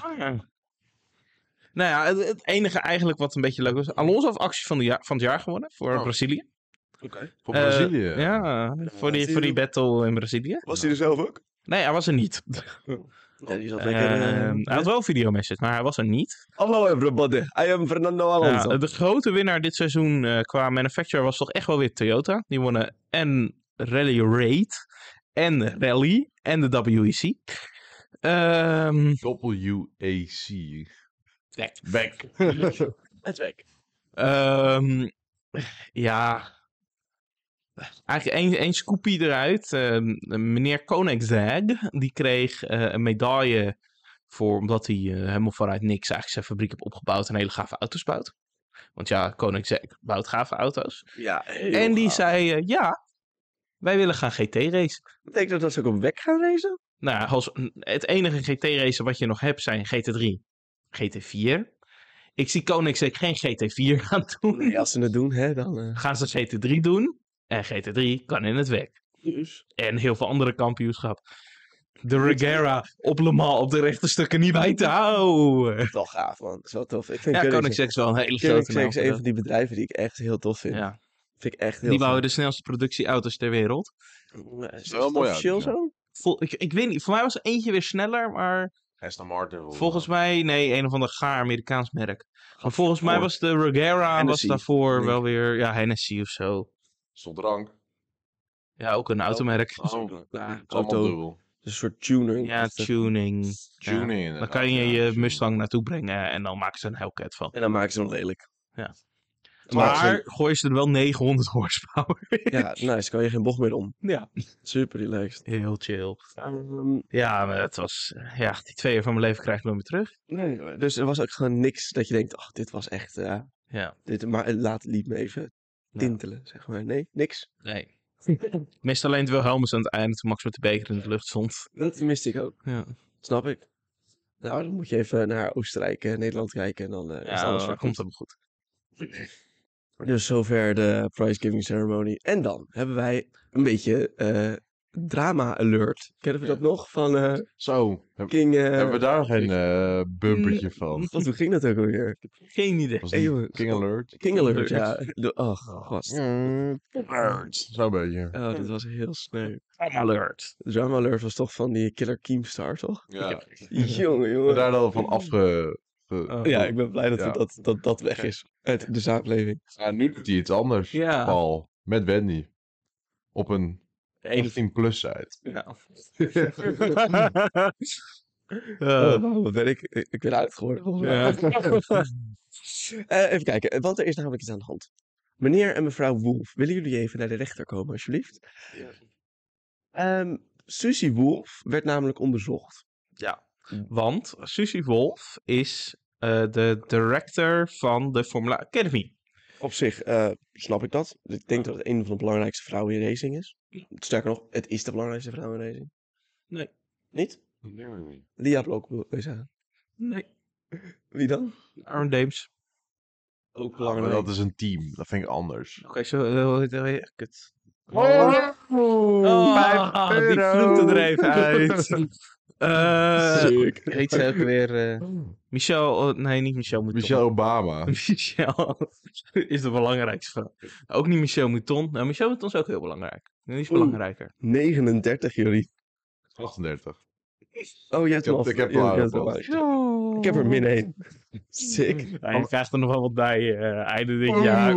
[SPEAKER 3] Nou ja, het, het enige eigenlijk wat een beetje leuk was. Alonso heeft actie van, de jaar, van het jaar gewonnen voor
[SPEAKER 2] Oh.
[SPEAKER 3] Brazilië.
[SPEAKER 2] Voor
[SPEAKER 3] Eh,
[SPEAKER 2] Brazilië.
[SPEAKER 3] Ja, voor die, voor die battle in Brazilië.
[SPEAKER 1] Was hij er zelf ook?
[SPEAKER 3] Nee, hij was er niet.
[SPEAKER 1] Nee, die zat
[SPEAKER 3] Ehm,
[SPEAKER 1] lekker... eh,
[SPEAKER 3] hij had wel een videomessage, maar hij was er niet.
[SPEAKER 1] Hallo everybody, I am Fernando Alonso.
[SPEAKER 3] Ja, de grote winnaar dit seizoen eh, qua manufacturer was toch echt wel weer Toyota. Die wonnen en Rally Raid en Rally en de WEC. Ehm,
[SPEAKER 2] WAC.
[SPEAKER 3] Back.
[SPEAKER 2] Back.
[SPEAKER 1] Het werk.
[SPEAKER 3] Ehm, ja. Eigenlijk één, één scoopie eruit. Ehm, meneer Koenigsegg, die kreeg eh, een medaille Voor, omdat hij eh, helemaal vanuit niks eigenlijk zijn fabriek heeft opgebouwd en hele gave auto's bouwt. Want ja, Koning Zack bouwt gave auto's.
[SPEAKER 1] Ja,
[SPEAKER 3] en die zei, eh, ja, wij willen gaan GT racen.
[SPEAKER 1] Ik denk dat dat ze ook op weg gaan racen.
[SPEAKER 3] Nou, ja, als, het enige GT-racer wat je nog hebt zijn GT3, GT4. Ik zie Koenigsegg geen GT4 gaan doen.
[SPEAKER 1] Nee, als ze het doen, hè, dan... eh.
[SPEAKER 3] Gaan ze GT3 doen? En GT3 kan in het werk. En heel veel andere kampioenschap. De Regera op Le Mans op de rechterstukken niet bij te houden.
[SPEAKER 1] is wel gaaf, man. Dat is wel tof. Ik vind
[SPEAKER 3] Ja,
[SPEAKER 1] Koenigsegg-
[SPEAKER 3] Koenigsegg is wel een hele grote
[SPEAKER 1] Koenigsegg
[SPEAKER 3] naam.
[SPEAKER 1] is een van die bedrijven die ik echt heel tof vind.
[SPEAKER 3] Ja,
[SPEAKER 1] Vind ik echt heel
[SPEAKER 3] die
[SPEAKER 1] tof.
[SPEAKER 3] bouwen dus- de snelste productieauto's ter wereld.
[SPEAKER 1] Ja, Is
[SPEAKER 2] wel
[SPEAKER 1] dat
[SPEAKER 2] mooi
[SPEAKER 1] officieel
[SPEAKER 2] uit, ja.
[SPEAKER 1] zo?
[SPEAKER 3] Vol- ik, ik weet niet, voor mij was eentje weer sneller, maar
[SPEAKER 2] Aston Martin. volgens
[SPEAKER 3] volgens
[SPEAKER 1] Oh.
[SPEAKER 2] mij.
[SPEAKER 3] mij, nee, een of ander gaar Amerikaans merk. Maar volgens mij was de Regera was
[SPEAKER 1] Hennessy,
[SPEAKER 3] daarvoor
[SPEAKER 1] denk ik.
[SPEAKER 3] wel weer, ja, Hennessy of zo.
[SPEAKER 2] Stond drank.
[SPEAKER 3] Oh. Ja, ook een automerk.
[SPEAKER 2] Oh,
[SPEAKER 1] Ja,
[SPEAKER 2] auto.
[SPEAKER 1] auto. dus
[SPEAKER 2] dubbel.
[SPEAKER 1] Een soort tuning.
[SPEAKER 3] Ja,
[SPEAKER 1] Of, eh,
[SPEAKER 3] tuning. Ja.
[SPEAKER 2] Tuning inderdaad,
[SPEAKER 3] Dan kan
[SPEAKER 2] ja,
[SPEAKER 3] je je
[SPEAKER 2] tuning.
[SPEAKER 3] Mustang naartoe brengen en dan maken ze een Hellcat van.
[SPEAKER 1] En dan maken ze hem lelijk.
[SPEAKER 3] Ja.
[SPEAKER 1] Dan maken ze
[SPEAKER 3] Maar gooien ze er wel 900 horsepower in.
[SPEAKER 1] hem- Ja, nice. Kan je geen bocht meer om.
[SPEAKER 3] Ja.
[SPEAKER 1] Super relaxed.
[SPEAKER 3] Heel chill.
[SPEAKER 1] Ehm,
[SPEAKER 3] Ja, maar het was... eh, Ja, die twee jaar van mijn leven krijg ik nooit meer terug.
[SPEAKER 1] nee, dus er was ook gewoon niks dat je denkt, ach, dit was echt... eh,
[SPEAKER 3] Ja.
[SPEAKER 1] dit, maar eh, laat het lied me even tintelen, zeg maar. Nee, niks.
[SPEAKER 3] Nee. Ik miste alleen het Wilhelmus aan het einde toen Max met de beker in de lucht stond.
[SPEAKER 1] Dat miste ik ook.
[SPEAKER 3] Ja,
[SPEAKER 1] Snap ik. Nou, dan moet je even naar Oostenrijk en Nederland kijken en dan eh, is
[SPEAKER 3] ja
[SPEAKER 1] alles
[SPEAKER 3] dat
[SPEAKER 1] weer
[SPEAKER 3] komt
[SPEAKER 1] goed.
[SPEAKER 3] helemaal goed.
[SPEAKER 1] Dus zover de prize giving ceremony. En dan hebben wij een beetje eh, drama alert. Kennen we dat nog? Van eh,
[SPEAKER 2] Zo, heb-
[SPEAKER 1] King... eh,
[SPEAKER 2] hebben we daar geen eh, bumpertje
[SPEAKER 3] Mm,
[SPEAKER 2] van?
[SPEAKER 1] Wat, hoe ging dat ook alweer?
[SPEAKER 3] Geen idee.
[SPEAKER 2] Was
[SPEAKER 1] Hey,
[SPEAKER 2] die
[SPEAKER 1] jongen.
[SPEAKER 2] King Alert.
[SPEAKER 1] King alert, ja. De- Oh, gast.
[SPEAKER 2] Alert. Zo'n
[SPEAKER 3] Eh,
[SPEAKER 2] beetje.
[SPEAKER 1] Oh, dit was heel sneu.
[SPEAKER 3] Alert.
[SPEAKER 1] Drama alert was toch van die Killer Keemstar, toch?
[SPEAKER 2] Ja.
[SPEAKER 1] Jongen,
[SPEAKER 2] We
[SPEAKER 1] jongen.
[SPEAKER 2] daar dan
[SPEAKER 3] eh,
[SPEAKER 2] van afge... ge-
[SPEAKER 3] Oh.
[SPEAKER 1] Ja, ik ben blij dat
[SPEAKER 2] Ja.
[SPEAKER 1] dat, dat, dat weg is. Uit de zaakleving.
[SPEAKER 2] Ja, nu dus. doet hij iets anders.
[SPEAKER 3] Ja.
[SPEAKER 2] Paul. Met Wendy. Op een 18 plus site.
[SPEAKER 3] Ja. Eh,
[SPEAKER 1] Oh, wauw, wat ben ik? Ik ik ben uitgeworden. volgens mij. Eh, even kijken, eh, want er is namelijk iets aan de hand. Meneer en mevrouw Wolf, willen jullie even naar de rechter komen, alsjeblieft? Ehm Susie Wolf werd namelijk onderzocht.
[SPEAKER 3] Want Susie Wolf is eh, de director van de Formula Academy.
[SPEAKER 1] Op zich eh, snap ik dat. Ik denk dat het een van de belangrijkste vrouwen in racing is. Sterker nog, het is de belangrijkste vrouw in racing.
[SPEAKER 3] Nee.
[SPEAKER 1] Niet? Lia Blok wil ik zeggen.
[SPEAKER 3] Nee.
[SPEAKER 1] Wie dan?
[SPEAKER 3] Aaron Dames.
[SPEAKER 1] Ook
[SPEAKER 2] Ja, maar dat is een team. Dat vind ik anders.
[SPEAKER 3] Oké, zo. eh, hoe heet hij? Kut.
[SPEAKER 2] Vijf
[SPEAKER 3] Ah, die
[SPEAKER 2] euro.
[SPEAKER 3] vloekte er even uit. Eh
[SPEAKER 1] Sick.
[SPEAKER 3] heet ze ook weer? eh, Michelle. oh, nee, niet Michelle Mouton.
[SPEAKER 2] Michelle Obama.
[SPEAKER 3] Michelle is de belangrijkste. vrouw. Ook niet Michelle Mouton. Nou, Michelle Mouton is ook heel belangrijk. Die is
[SPEAKER 1] Oeh.
[SPEAKER 3] belangrijker.
[SPEAKER 1] 39, jullie.
[SPEAKER 2] 38.
[SPEAKER 1] Oh, jij hebt
[SPEAKER 2] Ik
[SPEAKER 1] hem
[SPEAKER 2] heb-
[SPEAKER 1] al-
[SPEAKER 2] ik heb
[SPEAKER 1] jullie-
[SPEAKER 2] haar
[SPEAKER 1] jullie hebben
[SPEAKER 2] al.
[SPEAKER 1] hem al. Ik heb er min één. Sick.
[SPEAKER 3] Ja, je krijgt er nog wel wat bij eh, einde dit
[SPEAKER 2] Oeh,
[SPEAKER 3] jaar.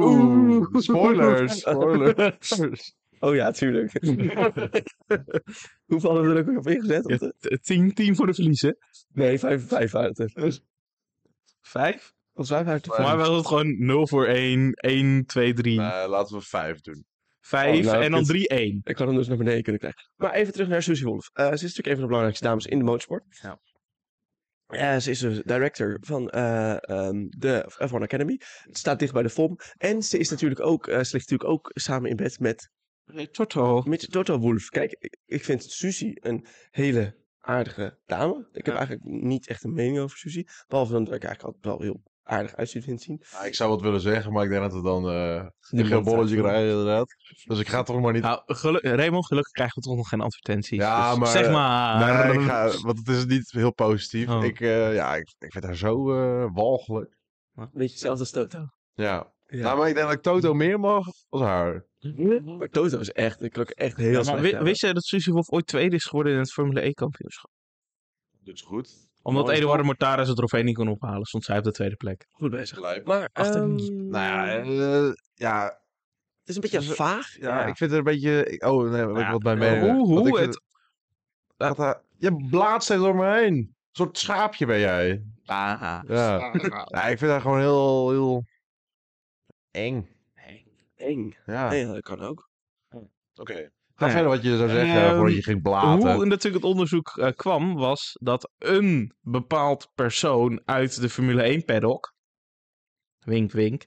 [SPEAKER 2] Spoilers. Spoilers.
[SPEAKER 1] Oh ja, tuurlijk. Hoeveel hadden we er ook weer op ingezet?
[SPEAKER 3] Ja, t- Tien, tien voor de verliezen.
[SPEAKER 1] Nee, 5 vijf uit.
[SPEAKER 3] Vijf?
[SPEAKER 1] Volgens mij vijf te
[SPEAKER 2] Maar-
[SPEAKER 3] Voor mij was het gewoon 0 voor 1, 1, 2, 3,
[SPEAKER 2] Eh, laten we vijf doen.
[SPEAKER 3] vijf
[SPEAKER 1] oh, nou,
[SPEAKER 3] en dan
[SPEAKER 1] kut.
[SPEAKER 3] 3, 1.
[SPEAKER 1] Ik had hem dus naar beneden kunnen krijgen. Maar even terug naar Susie Wolf. Eh, ze is natuurlijk een van de belangrijkste dames in de motorsport.
[SPEAKER 3] Ja.
[SPEAKER 1] Eh, ze is dus director van eh, ehm, de F1 Academy. Het staat dicht bij de FOM. En ze is natuurlijk ook, eh, ze ligt natuurlijk ook samen in bed met,
[SPEAKER 3] Toto.
[SPEAKER 1] met Toto Wolf. Kijk, ik- ik vind Susie een hele aardige dame. Ik heb
[SPEAKER 3] Ja.
[SPEAKER 1] eigenlijk niet echt een mening over Susie. Behalve dan dat ik eigenlijk altijd wel heel aardig uitziet vind zien.
[SPEAKER 2] Ja, Ah, ik zou wat willen zeggen, maar ik denk dat we dan eh een
[SPEAKER 1] Niemand
[SPEAKER 2] geel bolletje
[SPEAKER 1] zegt-
[SPEAKER 2] krijgen, inderdaad. Dus ik ga toch maar niet...
[SPEAKER 3] Nou, gelu- Raymond, gelukkig krijgen we toch nog geen advertenties.
[SPEAKER 2] Ja,
[SPEAKER 3] dus
[SPEAKER 2] maar,
[SPEAKER 3] Zeg
[SPEAKER 2] eh,
[SPEAKER 3] maar.
[SPEAKER 2] Nee, ik ga, want het is niet heel positief.
[SPEAKER 3] Oh.
[SPEAKER 2] Ik, eh, ja, ik, ik vind haar zo eh, walgelijk.
[SPEAKER 1] Beetje hetzelfde als Toto.
[SPEAKER 2] Ja.
[SPEAKER 1] Ja.
[SPEAKER 2] Nou, maar ik denk dat ik Toto meer mag als haar.
[SPEAKER 1] Maar Toto is echt, ik klok echt heel
[SPEAKER 3] Ja, maar
[SPEAKER 1] slecht.
[SPEAKER 3] wi-
[SPEAKER 1] ja.
[SPEAKER 3] wist jij dat Susie Wolf ooit tweede is geworden in het Formule E-kampioenschap?
[SPEAKER 2] Dat is goed.
[SPEAKER 3] Omdat
[SPEAKER 2] Mooi.
[SPEAKER 3] Eduardo Mortares het trofee niet kon ophalen, stond zij op de tweede plek.
[SPEAKER 1] goed bezig.
[SPEAKER 2] Gelijk.
[SPEAKER 1] Maar
[SPEAKER 3] Achter-
[SPEAKER 1] ehm,
[SPEAKER 2] Nou ja, eh, ja,
[SPEAKER 1] het is een beetje
[SPEAKER 2] zo-
[SPEAKER 1] vaag.
[SPEAKER 2] ja,
[SPEAKER 3] Mm. Ja.
[SPEAKER 2] ik vind het een beetje... ik- oh, nee, wat
[SPEAKER 3] Ja,
[SPEAKER 2] ik wat bij
[SPEAKER 3] eh,
[SPEAKER 2] mee...
[SPEAKER 3] hoe-
[SPEAKER 2] wat ik
[SPEAKER 3] hoe
[SPEAKER 2] vind-
[SPEAKER 3] het-
[SPEAKER 2] dat haar- je blaat steeds door me heen. Een soort schaapje ben jij.
[SPEAKER 3] Ah.
[SPEAKER 2] Ja. ja, ik vind haar gewoon heel... heel... Eng.
[SPEAKER 1] Eng.
[SPEAKER 2] Ja.
[SPEAKER 1] Nee, dat kan ook.
[SPEAKER 2] Oké. Ga
[SPEAKER 3] Nee.
[SPEAKER 2] verder wat je zou zeggen
[SPEAKER 3] Ehm,
[SPEAKER 2] voordat je ging blaten.
[SPEAKER 3] Hoe natuurlijk het onderzoek eh, kwam, was dat een bepaald persoon uit de Formule 1 paddock, wink wink,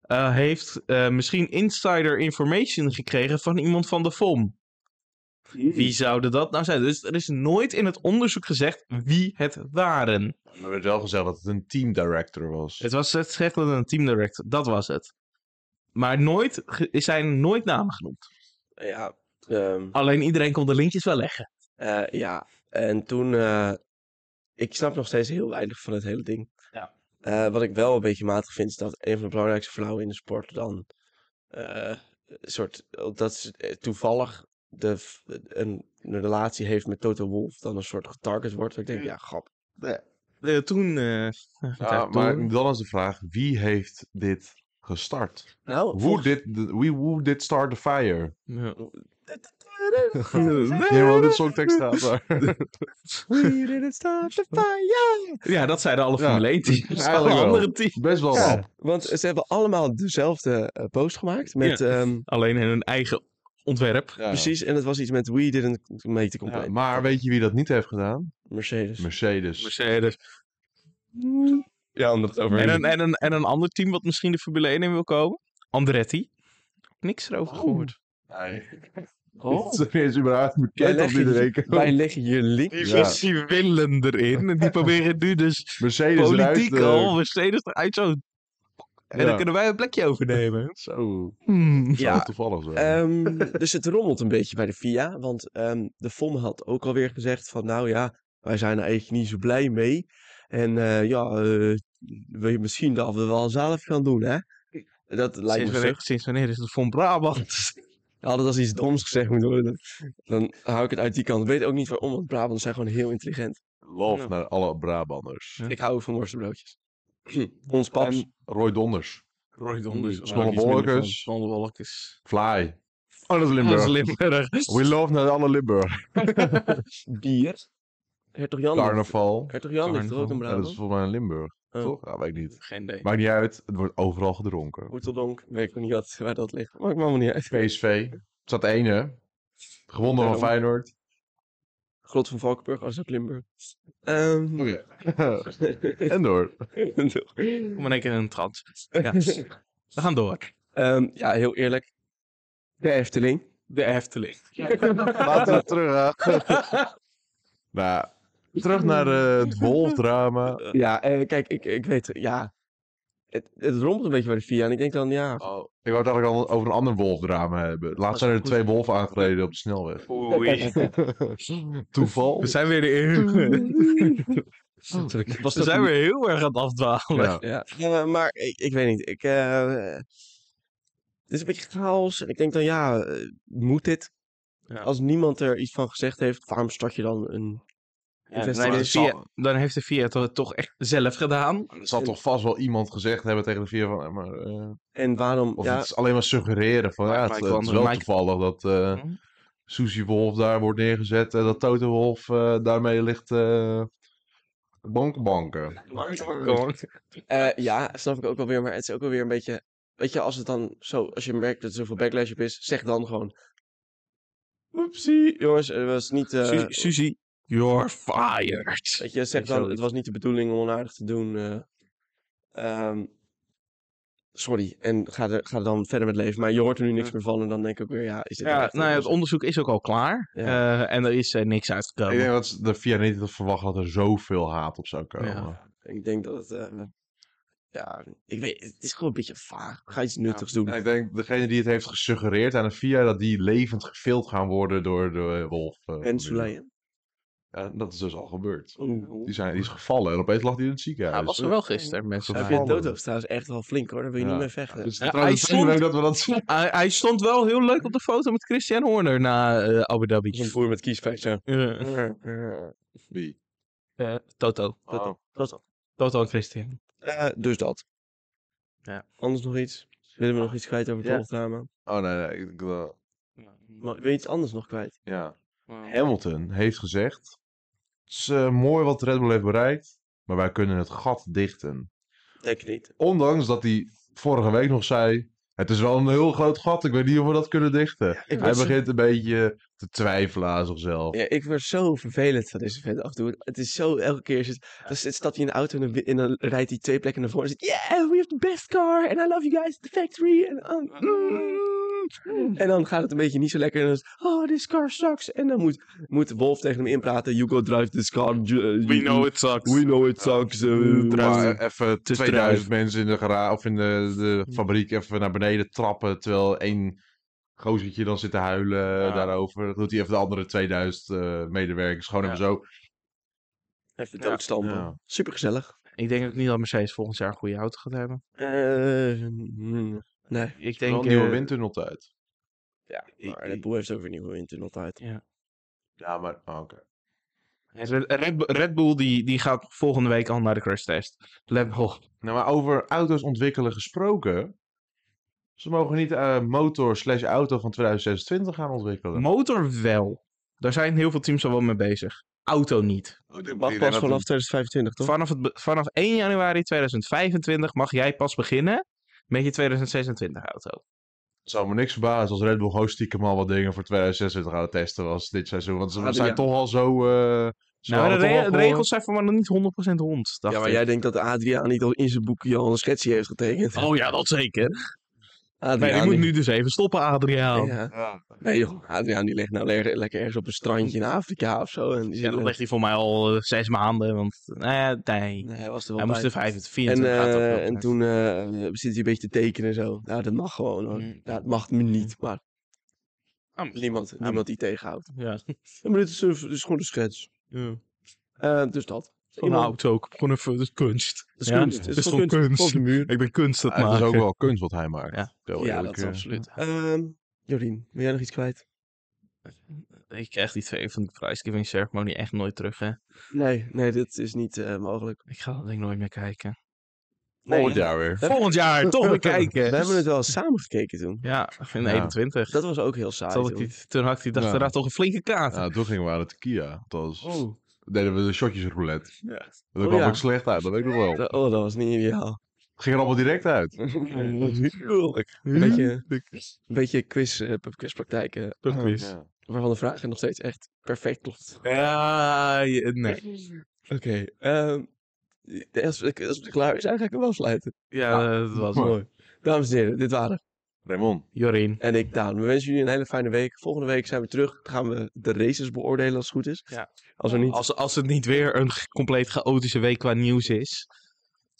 [SPEAKER 3] eh, heeft eh, misschien insider information gekregen van iemand van de FOM. Wie zouden dat nou zijn? Dus er is nooit in het onderzoek gezegd wie het waren.
[SPEAKER 2] Nou, Er werd wel gezegd dat het een team director was.
[SPEAKER 3] Het was het gezegd dat het een team director, dat was het. Maar nooit ge- zijn nooit namen genoemd.
[SPEAKER 1] Ja, ehm,
[SPEAKER 3] Alleen iedereen kon de linkjes wel leggen.
[SPEAKER 1] eh, ja. En toen, eh, ik snap nog steeds heel weinig van het hele ding.
[SPEAKER 3] Ja.
[SPEAKER 1] Eh, wat ik wel een beetje matig vind, is dat een van de belangrijkste vrouwen in de sport dan eh, een soort, dat ze eh, toevallig de, v- een, een relatie heeft met Toto Wolf, dan een soort getarget wordt. Ik denk,
[SPEAKER 2] Mm.
[SPEAKER 1] ja, grap.
[SPEAKER 3] Eh, toen. eh,
[SPEAKER 2] Ja,
[SPEAKER 3] toen-
[SPEAKER 2] Ah, maar dan is de vraag, wie heeft dit gestart?
[SPEAKER 1] Nou,
[SPEAKER 2] Who did, the- we, who did start the fire?
[SPEAKER 3] Ja.
[SPEAKER 2] Helemaal in dit songtekst staat daar.
[SPEAKER 1] We didn't start the fire.
[SPEAKER 3] Ja, dat zeiden alle
[SPEAKER 2] Ja,
[SPEAKER 3] Formule 1 teams.
[SPEAKER 2] eigenlijk
[SPEAKER 3] Alle
[SPEAKER 2] wel.
[SPEAKER 3] andere teams.
[SPEAKER 2] Best wel
[SPEAKER 1] Ja.
[SPEAKER 2] wel.
[SPEAKER 1] Want ze hebben allemaal dezelfde eh, post gemaakt. Met, ehm,
[SPEAKER 3] Alleen in hun eigen ontwerp.
[SPEAKER 2] Ja.
[SPEAKER 1] Precies, en het was iets met we didn't make the
[SPEAKER 2] Ja,
[SPEAKER 1] complaint.
[SPEAKER 2] maar weet je wie dat niet heeft gedaan?
[SPEAKER 1] Mercedes.
[SPEAKER 2] Mercedes.
[SPEAKER 3] Mercedes.
[SPEAKER 1] Ja, omdat het
[SPEAKER 3] En een, en, een, en een ander team wat misschien de Formule 1 in wil komen. Andretti. Niks erover gehoord.
[SPEAKER 2] Nee.
[SPEAKER 1] Oh.
[SPEAKER 2] Het is niet eens überhaupt
[SPEAKER 1] Wij
[SPEAKER 2] bekend op
[SPEAKER 1] leggen,
[SPEAKER 2] die
[SPEAKER 1] je-
[SPEAKER 2] rekening.
[SPEAKER 1] wij leggen hier link.
[SPEAKER 3] Die
[SPEAKER 2] Ja.
[SPEAKER 3] Messi willen erin. En die proberen nu dus
[SPEAKER 2] Mercedes
[SPEAKER 3] politiek
[SPEAKER 2] eruit, eh,
[SPEAKER 3] al Mercedes eruit zo. En
[SPEAKER 2] Ja.
[SPEAKER 3] dan kunnen wij een plekje overnemen.
[SPEAKER 2] Zo,
[SPEAKER 3] Hmm.
[SPEAKER 1] Ja,
[SPEAKER 2] ja. toevallig zo.
[SPEAKER 1] Ehm, dus het rommelt een beetje bij de FIA. Want ehm, de FOM had ook alweer gezegd van... Nou ja, wij zijn er eigenlijk niet zo blij mee. En eh, ja, eh, we, misschien dat we het wel zelf gaan doen, hè? Dat lijkt
[SPEAKER 3] Sinds,
[SPEAKER 1] me zo.
[SPEAKER 3] wanneer, sinds wanneer is het Von Brabant?
[SPEAKER 1] Ja, dat als iets doms gezegd moet worden, dan, dan hou ik het uit die kant. Ik weet ook niet waarom, want Brabants zijn gewoon heel intelligent.
[SPEAKER 2] Love
[SPEAKER 3] nou.
[SPEAKER 2] naar alle Brabanders.
[SPEAKER 1] Ik hou van worstenbroodjes. Ons paps.
[SPEAKER 2] En Roy Donders.
[SPEAKER 3] Roy
[SPEAKER 1] Donders.
[SPEAKER 2] Smalle bolletjes.
[SPEAKER 3] Smalle bolletjes.
[SPEAKER 2] Fly.
[SPEAKER 1] Oh,
[SPEAKER 2] Alles
[SPEAKER 3] Hans
[SPEAKER 2] Limburg.
[SPEAKER 3] Limburg.
[SPEAKER 2] We love naar alle Limburg.
[SPEAKER 1] bier. Hertog Jan. ligt-
[SPEAKER 2] Carnaval.
[SPEAKER 1] Hertog Jan ligt er ook in
[SPEAKER 3] Carnaval.
[SPEAKER 2] Ja, dat
[SPEAKER 1] Brabant.
[SPEAKER 2] is volgens mij in Limburg.
[SPEAKER 1] Oh.
[SPEAKER 2] Toch? Ja, weet ik niet.
[SPEAKER 3] Geen idee.
[SPEAKER 2] Maakt niet uit. Het wordt overal gedronken.
[SPEAKER 1] Hoeteldonk. Weet ik nog niet wat, waar dat ligt. Maakt me allemaal niet uit.
[SPEAKER 2] PSV. Het zat één, hè? Gewonnen van
[SPEAKER 1] Daarom.
[SPEAKER 2] Feyenoord.
[SPEAKER 1] Grot van Valkenburg, als uit Limburg. Ehm,
[SPEAKER 2] Oké. en door.
[SPEAKER 3] Kom in één keer in een trant. Ja. We gaan door.
[SPEAKER 1] Ehm, ja, heel eerlijk. De Efteling.
[SPEAKER 3] De Efteling.
[SPEAKER 2] Laten we terug. hè. nou, terug naar eh, het wolfdrama.
[SPEAKER 1] Ja, eh, kijk, ik, ik weet, ja. Het, het rommelt een beetje bij de VIA. En ik denk dan, ja.
[SPEAKER 2] Oh, ik wou het eigenlijk al over een ander wolfdrama hebben. Laatst zijn er
[SPEAKER 3] goed.
[SPEAKER 2] twee wolven aangereden op de snelweg.
[SPEAKER 3] Oei.
[SPEAKER 2] Toeval?
[SPEAKER 3] We zijn weer, de eer-
[SPEAKER 1] Was
[SPEAKER 3] we
[SPEAKER 1] dat
[SPEAKER 3] zijn
[SPEAKER 1] een-
[SPEAKER 3] weer heel erg aan het afdwalen.
[SPEAKER 2] Ja.
[SPEAKER 1] Ja, eh, maar ik, ik weet niet. Ik, eh, eh, het is een beetje chaos. En ik denk dan, ja, eh, moet dit?
[SPEAKER 3] Ja.
[SPEAKER 1] Als niemand er iets van gezegd heeft, waarom start je dan een...
[SPEAKER 3] dan,
[SPEAKER 1] investi-
[SPEAKER 3] heeft de
[SPEAKER 2] het zal-
[SPEAKER 3] Fiat, dan heeft de Fiat het toch echt zelf gedaan.
[SPEAKER 2] Er zal toch vast wel iemand gezegd hebben tegen de vier van... eh, Maar, eh,
[SPEAKER 1] En waarom...
[SPEAKER 2] of
[SPEAKER 1] ja,
[SPEAKER 2] het is alleen maar suggereren van... Ja,
[SPEAKER 3] Mike-
[SPEAKER 2] het,
[SPEAKER 3] Mike
[SPEAKER 2] het is
[SPEAKER 3] Wanderen,
[SPEAKER 2] wel
[SPEAKER 3] Mike-
[SPEAKER 2] toevallig dat eh
[SPEAKER 3] Hm?
[SPEAKER 2] Susie Wolf daar wordt neergezet... en dat Toto Wolf eh, daarmee ligt eh banken banken.
[SPEAKER 3] Gewoon.
[SPEAKER 1] Eh, ja, snap ik ook alweer, maar het is ook alweer een beetje... Weet je, als het dan zo, als je merkt dat er zoveel backlash op is, zeg dan gewoon... Oepsie, jongens, het was niet... eh,
[SPEAKER 3] Su- Suzy, you're fired.
[SPEAKER 1] weet je, zeg
[SPEAKER 3] weet je
[SPEAKER 1] dan,
[SPEAKER 3] wel.
[SPEAKER 1] het was niet de bedoeling om onaardig te doen. eh. Ehm, sorry, en ga, er, ga dan verder met leven. Maar je hoort er nu niks
[SPEAKER 3] Ja.
[SPEAKER 1] meer van en dan denk ik ook weer, ja, is dit
[SPEAKER 3] Ja,
[SPEAKER 1] echt
[SPEAKER 3] nou ja, het
[SPEAKER 1] oplossing?
[SPEAKER 3] onderzoek is ook al klaar.
[SPEAKER 1] Ja.
[SPEAKER 3] Eh, en er is eh, niks uitgekomen.
[SPEAKER 2] Ik denk dat ze- de VIA niet had verwacht dat er zoveel haat op zou komen.
[SPEAKER 3] Ja.
[SPEAKER 1] Ik denk dat het... eh, ja, ik weet, het is gewoon een beetje vaag. Ga iets nuttigs doen.
[SPEAKER 2] En ik denk, degene die het heeft gesuggereerd aan de VIA... dat die levend gefilmd gaan worden door de wolf. eh,
[SPEAKER 1] En
[SPEAKER 2] familie.
[SPEAKER 1] Soleil.
[SPEAKER 2] Ja, dat is dus al gebeurd.
[SPEAKER 1] Oeh.
[SPEAKER 2] Die, zijn, die is gevallen en opeens lag hij in het ziekenhuis.
[SPEAKER 3] Ja, Nou, was er wel gisteren. Met
[SPEAKER 1] Heb je
[SPEAKER 2] Gevallen.
[SPEAKER 1] Dodo's trouwens echt wel flink hoor, daar wil je niet
[SPEAKER 2] Ja.
[SPEAKER 1] mee vechten.
[SPEAKER 2] Dus
[SPEAKER 3] Ja,
[SPEAKER 2] trouwens,
[SPEAKER 3] hij
[SPEAKER 2] het enige
[SPEAKER 3] stond-
[SPEAKER 2] dat we dat zien.
[SPEAKER 3] Hij, hij stond wel heel leuk op de foto met Christian Horner na eh, Abu
[SPEAKER 1] Dat is
[SPEAKER 3] Dhabi.
[SPEAKER 1] een boer met kiespijn zo.
[SPEAKER 3] Eh,
[SPEAKER 2] Wie?
[SPEAKER 3] eh, Toto.
[SPEAKER 2] Oh.
[SPEAKER 3] Toto en Christian.
[SPEAKER 1] Eh, dus dat.
[SPEAKER 3] Ja.
[SPEAKER 1] Anders nog iets? Willen we nog iets kwijt over het
[SPEAKER 2] Ja.
[SPEAKER 1] hoofddrama?
[SPEAKER 2] Oh, nee, nee. ik- ik wil-
[SPEAKER 1] Maar wil je iets anders nog kwijt?
[SPEAKER 2] ja. Hamilton heeft gezegd... Het is eh, mooi wat Red Bull heeft bereikt, maar wij kunnen het gat dichten.
[SPEAKER 1] Denk ik niet.
[SPEAKER 2] Ondanks dat hij vorige week nog zei... Het is wel een heel groot gat. Ik weet niet of we dat kunnen dichten.
[SPEAKER 1] Ik
[SPEAKER 2] Hij
[SPEAKER 1] word zo-
[SPEAKER 2] begint een beetje te twijfelen aan zichzelf.
[SPEAKER 1] Ja, ik word zo vervelend van deze vent af en toe. Het is zo, elke keer is het, dan zit- stapt hij in een auto en dan, wi- en dan rijdt hij twee plekken naar voren en zegt, yeah, we have the best car and I love you guys, the factory. En, dan- mm. en dan gaat het een beetje niet zo lekker en dan is het, oh, this car sucks. En dan moet, moet Wolf tegen hem inpraten, you go drive this car. you- uh, you-
[SPEAKER 3] We know it Ehm, sucks.
[SPEAKER 1] We know it sucks. eh,
[SPEAKER 2] Mm, Maar
[SPEAKER 1] maar-
[SPEAKER 2] even
[SPEAKER 1] is
[SPEAKER 2] 2000 mensen in de garage of in de, de fabriek even naar beneden trappen. Terwijl één gozertje dan zit te huilen
[SPEAKER 3] Ja.
[SPEAKER 2] daarover. Dat doet hij even de andere 2000 eh, medewerkers gewoon
[SPEAKER 3] Ja.
[SPEAKER 2] even zo.
[SPEAKER 1] Even
[SPEAKER 3] Ja.
[SPEAKER 1] doodstampen.
[SPEAKER 2] Ja.
[SPEAKER 1] Supergezellig.
[SPEAKER 3] Ik denk ook niet dat Mercedes volgend jaar een goede auto gaat hebben.
[SPEAKER 1] Eh, mm, nee,
[SPEAKER 3] Ik
[SPEAKER 2] Wel
[SPEAKER 3] denk...
[SPEAKER 2] een nieuwe
[SPEAKER 3] eh,
[SPEAKER 2] windtunnel uit.
[SPEAKER 3] ik-
[SPEAKER 1] maar Red Bull heeft ook weer nieuwe winter uit.
[SPEAKER 2] Ja, maar...
[SPEAKER 3] ah,
[SPEAKER 2] oh, oké.
[SPEAKER 3] Red, Red, Bull- Red Bull die, die gaat volgende week al naar de crash test. Let op.
[SPEAKER 2] Nou, maar over auto's ontwikkelen gesproken. Ze mogen niet eh, motor slash auto van 2026 gaan ontwikkelen.
[SPEAKER 3] Motor wel. Daar zijn heel veel teams al wel mee bezig. Auto niet.
[SPEAKER 1] Mag pas vanaf 2025, toch?
[SPEAKER 3] Vanaf, het, be- vanaf 1 januari 2025 mag jij pas beginnen met je 2026 auto.
[SPEAKER 2] Het zou me niks verbazen als Red Bull gewoon stiekem al wat dingen voor 2026 aan het testen was dit seizoen. Want ze
[SPEAKER 1] Ah,
[SPEAKER 2] zijn
[SPEAKER 1] ja.
[SPEAKER 2] toch al zo... eh, ze
[SPEAKER 3] Nou, de,
[SPEAKER 2] hadden toch
[SPEAKER 3] re-
[SPEAKER 2] al
[SPEAKER 3] de
[SPEAKER 2] gewoon-
[SPEAKER 3] regels zijn voor mij nog niet 100% rond. Dacht
[SPEAKER 1] Ja, maar
[SPEAKER 3] ik.
[SPEAKER 1] jij denkt dat Adriaan niet al in zijn boekje al een schetsje heeft getekend.
[SPEAKER 3] Oh ja, dat zeker. Nee,
[SPEAKER 1] Adriaan,
[SPEAKER 3] ik moet nu dus even stoppen, Adriaan.
[SPEAKER 1] Ja.
[SPEAKER 2] Ja.
[SPEAKER 1] Nee joh, Adriaan die ligt nou le- lekker ergens op een strandje in Afrika of zo. En die
[SPEAKER 3] Ja,
[SPEAKER 1] zit
[SPEAKER 3] dat
[SPEAKER 1] er-
[SPEAKER 3] ligt hij voor mij al eh, zes maanden. Want eh, nee,
[SPEAKER 1] Nee, hij was er wel
[SPEAKER 3] hij moest
[SPEAKER 1] bij.
[SPEAKER 3] er
[SPEAKER 1] en,
[SPEAKER 3] 25 gaat
[SPEAKER 1] eh,
[SPEAKER 3] dat wel.
[SPEAKER 1] en toen eh zit hij een beetje te tekenen en zo. Nou, dat mag gewoon hoor.
[SPEAKER 3] Mm.
[SPEAKER 1] Ja, het mag me niet, maar
[SPEAKER 3] Ah, maar-
[SPEAKER 1] niemand, niemand die tegenhoudt.
[SPEAKER 3] Ja.
[SPEAKER 1] Ja, maar dit is, eh, dit is gewoon een schets.
[SPEAKER 3] ja.
[SPEAKER 1] Eh, dus dat.
[SPEAKER 3] Gewoon een
[SPEAKER 1] Iemand-
[SPEAKER 3] auto ook. Gewoon even dat is kunst.
[SPEAKER 1] Dat is
[SPEAKER 3] Ja,
[SPEAKER 1] kunst.
[SPEAKER 3] dat
[SPEAKER 1] Het
[SPEAKER 3] is
[SPEAKER 1] is
[SPEAKER 3] gewoon
[SPEAKER 1] gewoon kunst.
[SPEAKER 3] kunst.
[SPEAKER 1] Op de muur.
[SPEAKER 3] Ik ben kunst aan het
[SPEAKER 2] Ah, Het is
[SPEAKER 3] maken.
[SPEAKER 2] ook wel kunst wat hij maakt.
[SPEAKER 3] Ja.
[SPEAKER 2] Zo
[SPEAKER 1] Ja,
[SPEAKER 2] eerlijk,
[SPEAKER 1] dat is
[SPEAKER 2] eh.
[SPEAKER 1] absoluut. Ehm, Jorien, wil jij nog iets kwijt?
[SPEAKER 3] Ik krijg die twee van de prijsgiving ceremony echt nooit terug, hè.
[SPEAKER 1] Nee, nee, dit is niet eh, mogelijk.
[SPEAKER 3] Ik ga dat ding nooit meer kijken.
[SPEAKER 1] Nee,
[SPEAKER 2] Volgend jaar weer.
[SPEAKER 3] Volgend jaar toch weer kijken.
[SPEAKER 1] we hebben het wel eens samen gekeken toen.
[SPEAKER 3] Ja, in
[SPEAKER 2] Ja.
[SPEAKER 3] 21.
[SPEAKER 1] Dat was ook heel saai.
[SPEAKER 3] Toen had ik
[SPEAKER 1] joh.
[SPEAKER 3] die, toen had ik die dag
[SPEAKER 2] Ja.
[SPEAKER 3] daarna toch een flinke kaart.
[SPEAKER 2] Ja, toen gingen we aan het Kia. Althans, deden we de shotjes roulette.
[SPEAKER 3] Ja.
[SPEAKER 2] Dat
[SPEAKER 1] Oh,
[SPEAKER 2] kwam
[SPEAKER 1] ja.
[SPEAKER 2] ook slecht uit, dat weet ik nog wel.
[SPEAKER 1] Dat- Oh, dat was niet ideaal.
[SPEAKER 2] Het ging er allemaal direct uit.
[SPEAKER 1] Gruwelijk. Een beetje, een beetje quiz, eh, quizpraktijk. eh,
[SPEAKER 2] Ja.
[SPEAKER 1] waarvan de vragen nog steeds echt perfect klopt.
[SPEAKER 3] Ja, je- nee.
[SPEAKER 1] Oké. ehm, als, we, als we klaar zijn, ga ik hem afsluiten.
[SPEAKER 3] Ja, dat was
[SPEAKER 2] Mooi.
[SPEAKER 3] mooi.
[SPEAKER 1] Dames en heren, dit waren
[SPEAKER 2] Raymond.
[SPEAKER 3] Jorien.
[SPEAKER 1] en ik, Daan. We wensen jullie een hele fijne week. Volgende week zijn we terug. Dan gaan we de races beoordelen als het goed is.
[SPEAKER 3] Ja.
[SPEAKER 1] Als er niet.
[SPEAKER 3] Als, als het niet weer een g- compleet chaotische week qua nieuws is.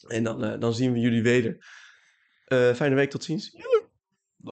[SPEAKER 1] En dan, eh, dan zien we jullie weder. Eh, fijne week, tot ziens. Joe!